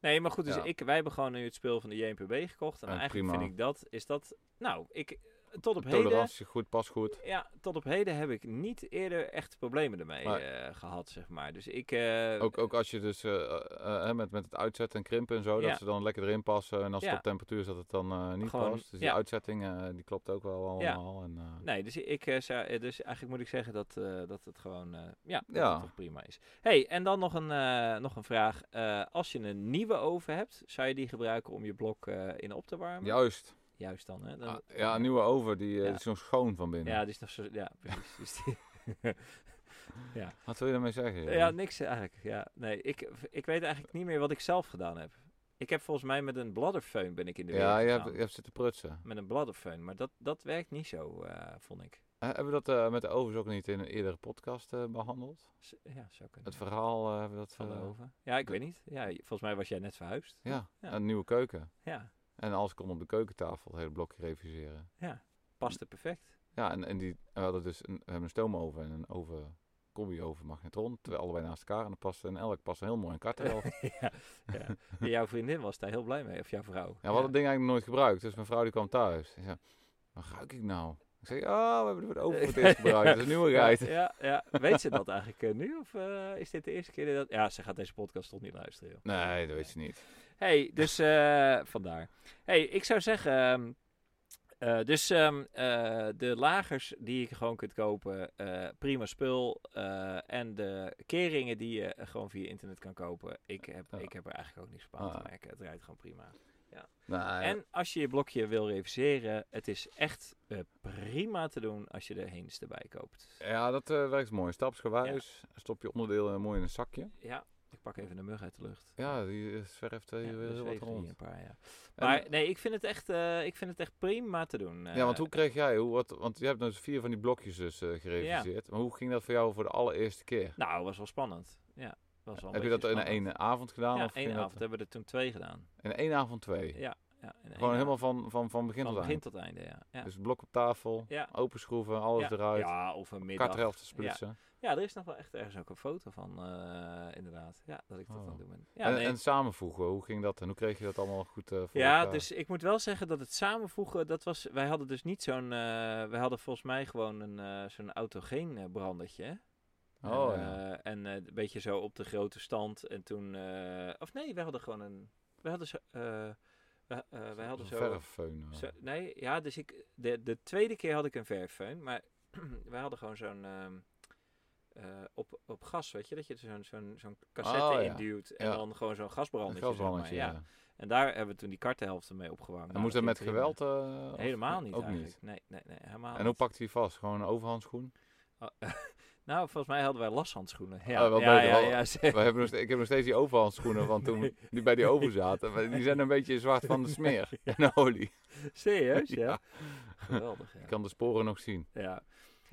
S1: Nee, maar goed, dus
S2: Ja.
S1: ik, wij hebben gewoon nu het spul van de JNPB gekocht. En
S2: Ah,
S1: eigenlijk
S2: prima.
S1: vind ik dat, is dat, nou, ik, tot op heden...
S2: Tolerantie, goed, pas goed.
S1: Ja, tot op heden heb ik niet eerder echt problemen ermee
S2: Maar-
S1: eh, gehad, zeg maar. Dus ik... eh,
S2: Ook, ook als je dus eh, eh, eh, met, met het uitzetten en krimpen en zo,
S1: Ja.
S2: dat ze dan lekker erin passen. En als
S1: Ja.
S2: het op temperatuur zat het dan eh, niet
S1: Gewoon,
S2: past. Dus die
S1: ja.
S2: uitzetting, eh, die klopt ook wel allemaal. En, eh,
S1: Nee, dus, ik, eh, zou, eh, dus eigenlijk moet ik zeggen dat, eh, dat het gewoon eh, ja, dat
S2: Ja.
S1: het toch prima is. hey, en dan nog een, eh, nog een vraag. Eh, als je een nieuwe oven hebt, zou je die gebruiken om je blok eh, in op te warmen?
S2: Juist.
S1: Juist dan, hè? Dan-
S2: Ah, ja, een nieuwe oven, die eh,
S1: Ja.
S2: die is nog schoon van binnen.
S1: Ja, die is nog zo... Ja, precies. Dus die-
S2: Wat wil je daarmee zeggen? joh?
S1: ja, niks eigenlijk. Ja, nee, ik, ik weet eigenlijk niet meer wat ik zelf gedaan heb. Ik heb volgens mij met een bladderfeun ben ik in de weer
S2: ja je,
S1: gegaan.
S2: hebt, je hebt zitten prutsen.
S1: Met een bladderfeun, maar dat, dat werkt niet zo, eh, vond ik.
S2: Eh, hebben we dat eh, met de ovens ook niet in een eerdere podcast eh, behandeld?
S1: Z- Ja, zou kunnen.
S2: Het verhaal eh, hebben we dat
S1: van de
S2: eh,
S1: oven. Ja, ik weet niet. Ja, j- volgens mij was jij net verhuisd.
S2: Ja,
S1: Ja.
S2: een nieuwe keuken.
S1: Ja,
S2: En alles kon op de keukentafel, het hele blokje reviseren.
S1: paste perfect.
S2: Ja, en, en die, en we hadden dus een, we hebben een stoomoven en een oven, combi-oven magnetron. Terwijl allebei naast elkaar en dat paste en elk paste heel mooi in kartel. ja,
S1: ja, ja. En jouw vriendin was daar heel blij mee, of jouw vrouw.
S2: we hadden het ding eigenlijk nooit gebruikt. Dus mijn vrouw die kwam thuis. Die zei, wat ruik ik nou? Ik zei, oh, we hebben de oven voor het eerst gebruikt. Dat is een nieuwigheid.
S1: Ja, ja, ja. Weet ze dat eigenlijk eh, nu? Of eh, is dit de eerste keer dat... Ja, ze gaat deze podcast toch niet luisteren, joh.
S2: Nee, dat weet je niet.
S1: hey, dus eh, vandaar. hey, ik zou zeggen... ehm, eh, dus ehm, eh, de lagers die je gewoon kunt kopen, eh, prima spul. eh, en de keringen die je eh, gewoon via internet kan kopen. Ik heb,
S2: Ja.
S1: ik heb er eigenlijk ook niks op aan te
S2: Ah. Eh,
S1: merken. Het rijdt gewoon prima.
S2: Nee,
S1: En als je je blokje wil reviseren, het is echt eh, prima te doen als je de heens erbij koopt.
S2: Ja, dat eh, werkt mooi. Stapsgewijs stop je onderdelen mooi in een zakje.
S1: Ja, ik pak even de mug uit de lucht.
S2: Ja, die eh, zwerft eh,
S1: Ja,
S2: hier weer
S1: dus
S2: heel wat
S1: even hier
S2: rond.
S1: een paar, ja.
S2: En,
S1: Maar nee, ik vind het echt, eh, ik vind het echt prima te doen. eh.
S2: ja, want hoe kreeg jij, hoe, wat, want je hebt dus vier van die blokjes dus eh, gereviseerd. Maar hoe ging dat voor jou voor de allereerste keer?
S1: Nou, het was wel spannend. Ja, was wel een
S2: Heb
S1: beetje
S2: je dat in
S1: spannend.
S2: één avond gedaan?
S1: Ja,
S2: of ging
S1: één
S2: dat-
S1: avond hebben we er toen twee gedaan.
S2: In één avond twee?
S1: Ja, ja in één
S2: Gewoon helemaal
S1: avond.
S2: van, van, van begin
S1: van
S2: tot
S1: begin
S2: eind?
S1: tot einde, ja. ja.
S2: Dus blok op tafel,
S1: Ja.
S2: open schroeven, alles
S1: ja.
S2: eruit,
S1: Ja, of een middag.
S2: karthelft splitsen.
S1: Ja, er is nog wel echt ergens ook een foto van, eh, inderdaad. Ja, dat ik dat
S2: Oh.
S1: aan het doen ben. Ja,
S2: en,
S1: nee.
S2: en samenvoegen, hoe ging dat en hoe kreeg je dat allemaal goed eh voor
S1: Ja,
S2: elkaar?
S1: dus ik moet wel zeggen dat het samenvoegen, dat was, wij hadden dus niet zo'n, eh, wij hadden volgens mij gewoon een, eh, zo'n autogeen eh, brandertje. hè.
S2: Oh,
S1: en,
S2: ja.
S1: eh, en eh, een beetje zo op de grote stand en toen, eh, of nee, wij hadden gewoon een, wij hadden zo, eh, wij, eh, wij hadden zo,
S2: Zo'n verffeun, eh.
S1: zo- nee, ja, dus ik, de, de tweede keer had ik een verfveun, maar wij hadden gewoon zo'n, ehm, eh, op, op gas, weet je, dat je zo'n, zo'n, zo'n cassette
S2: Oh, ja.
S1: induwt en
S2: Ja.
S1: dan gewoon zo'n
S2: Een
S1: gasbrandetje. zeg maar.
S2: gasbrandetje,
S1: ja.
S2: ja.
S1: En daar hebben we toen die kartenhelften mee opgewarmd.
S2: En
S1: Nou,
S2: moet dat
S1: ging
S2: met
S1: prima.
S2: geweld? eh, of-
S1: Helemaal niet
S2: Ook
S1: eigenlijk.
S2: niet.
S1: Nee, nee, nee, helemaal
S2: En hoe
S1: niet.
S2: pakt hij vast? Gewoon een overhandschoen?
S1: Oh, nou, volgens mij hadden wij lashandschoenen. Ja,
S2: Ah, wel
S1: ja,
S2: beter,
S1: ja,
S2: wel.
S1: ja,
S2: We hebben nog, ste- ik heb nog steeds die overhandschoenen van toen die bij die oven zaten. Maar die zijn een beetje zwart van de smeer en olie.
S1: serieus, ja.
S2: Ja.
S1: Geweldig,
S2: Ik
S1: ja.
S2: kan de sporen nog zien.
S1: Ja.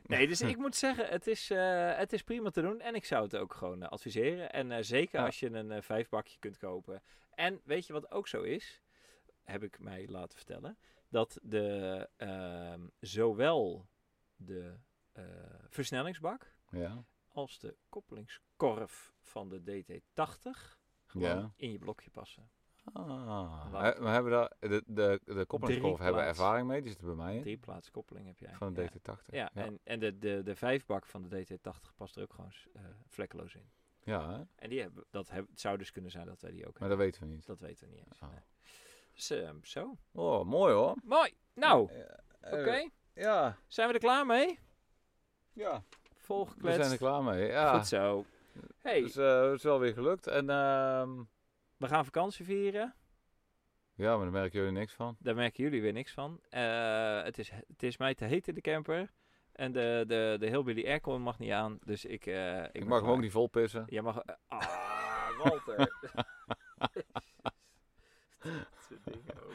S1: Nee, dus ik moet zeggen, het is, eh, het is prima te doen. En ik zou het ook gewoon eh, adviseren. En eh, zeker
S2: Ja.
S1: als je een eh, vijfbakje kunt kopen. En weet je wat ook zo is? Heb ik mij laten vertellen. Dat de, ehm, zowel de eh, versnellingsbak
S2: Ja.
S1: als de koppelingskorf van de DT80 gewoon
S2: Ja.
S1: in je blokje passen.
S2: Ah.
S1: Laat.
S2: He- We hebben daar, de, de, de koppelingskolf
S1: Drie
S2: hebben
S1: plaats.
S2: ervaring mee. Die zit er bij mij in.
S1: Drie plaats koppeling heb jij.
S2: Van de DT80.
S1: Ja, ja,
S2: ja.
S1: en, en de, de, de vijfbak van de DT80 past er ook gewoon s- eh, vlekkeloos in.
S2: Ja, hè?
S1: En die hebben, dat heb, het zou dus kunnen zijn dat wij die ook
S2: maar
S1: hebben.
S2: dat weten we niet.
S1: Dat weten we niet eens.
S2: Ah.
S1: nee. Dus eh, zo.
S2: Oh, mooi hoor.
S1: Mooi. Nou,
S2: Eh, eh,
S1: oké.
S2: Ja,
S1: Zijn we er klaar mee?
S2: ja. we
S1: Volgekletst.
S2: zijn er klaar mee. Ja.
S1: Goed zo. Hey,
S2: Dus eh, het is wel weer gelukt. En ehm,
S1: we gaan vakantie vieren.
S2: ja, maar daar merken jullie niks van.
S1: Daar merken jullie weer niks van. Eh, het, is, het is mij te heet in de camper. En de, de, de Hillbilly aircon mag niet aan. Dus ik... eh, ik,
S2: Ik,
S1: ben
S2: mag hem
S1: klaar.
S2: ook niet vol pissen.
S1: Jij mag... eh, ah, Walter. Dat soort dingen ook.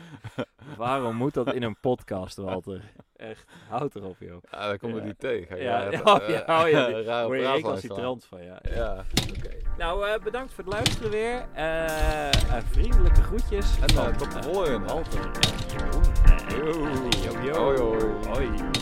S1: Waarom moet dat in een podcast, Walter? Echt, houd erop, joh.
S2: Ja, daar komt
S1: Ja.
S2: er niet tegen.
S1: Ja, oh ja, oh ja, die-
S2: Raar
S1: Hoor je
S2: praat
S1: ik als die
S2: luisteren.
S1: trant van, ja.
S2: Ja.
S1: Nou, eh, bedankt voor het luisteren weer. Eh, eh, vriendelijke groetjes.
S2: En
S1: van,
S2: dan tot de
S1: eh,
S2: volgende.
S1: Walter en Jeroen.
S2: Yo.
S1: Yo, yo.
S2: Hoi, hoi.
S1: Hoi.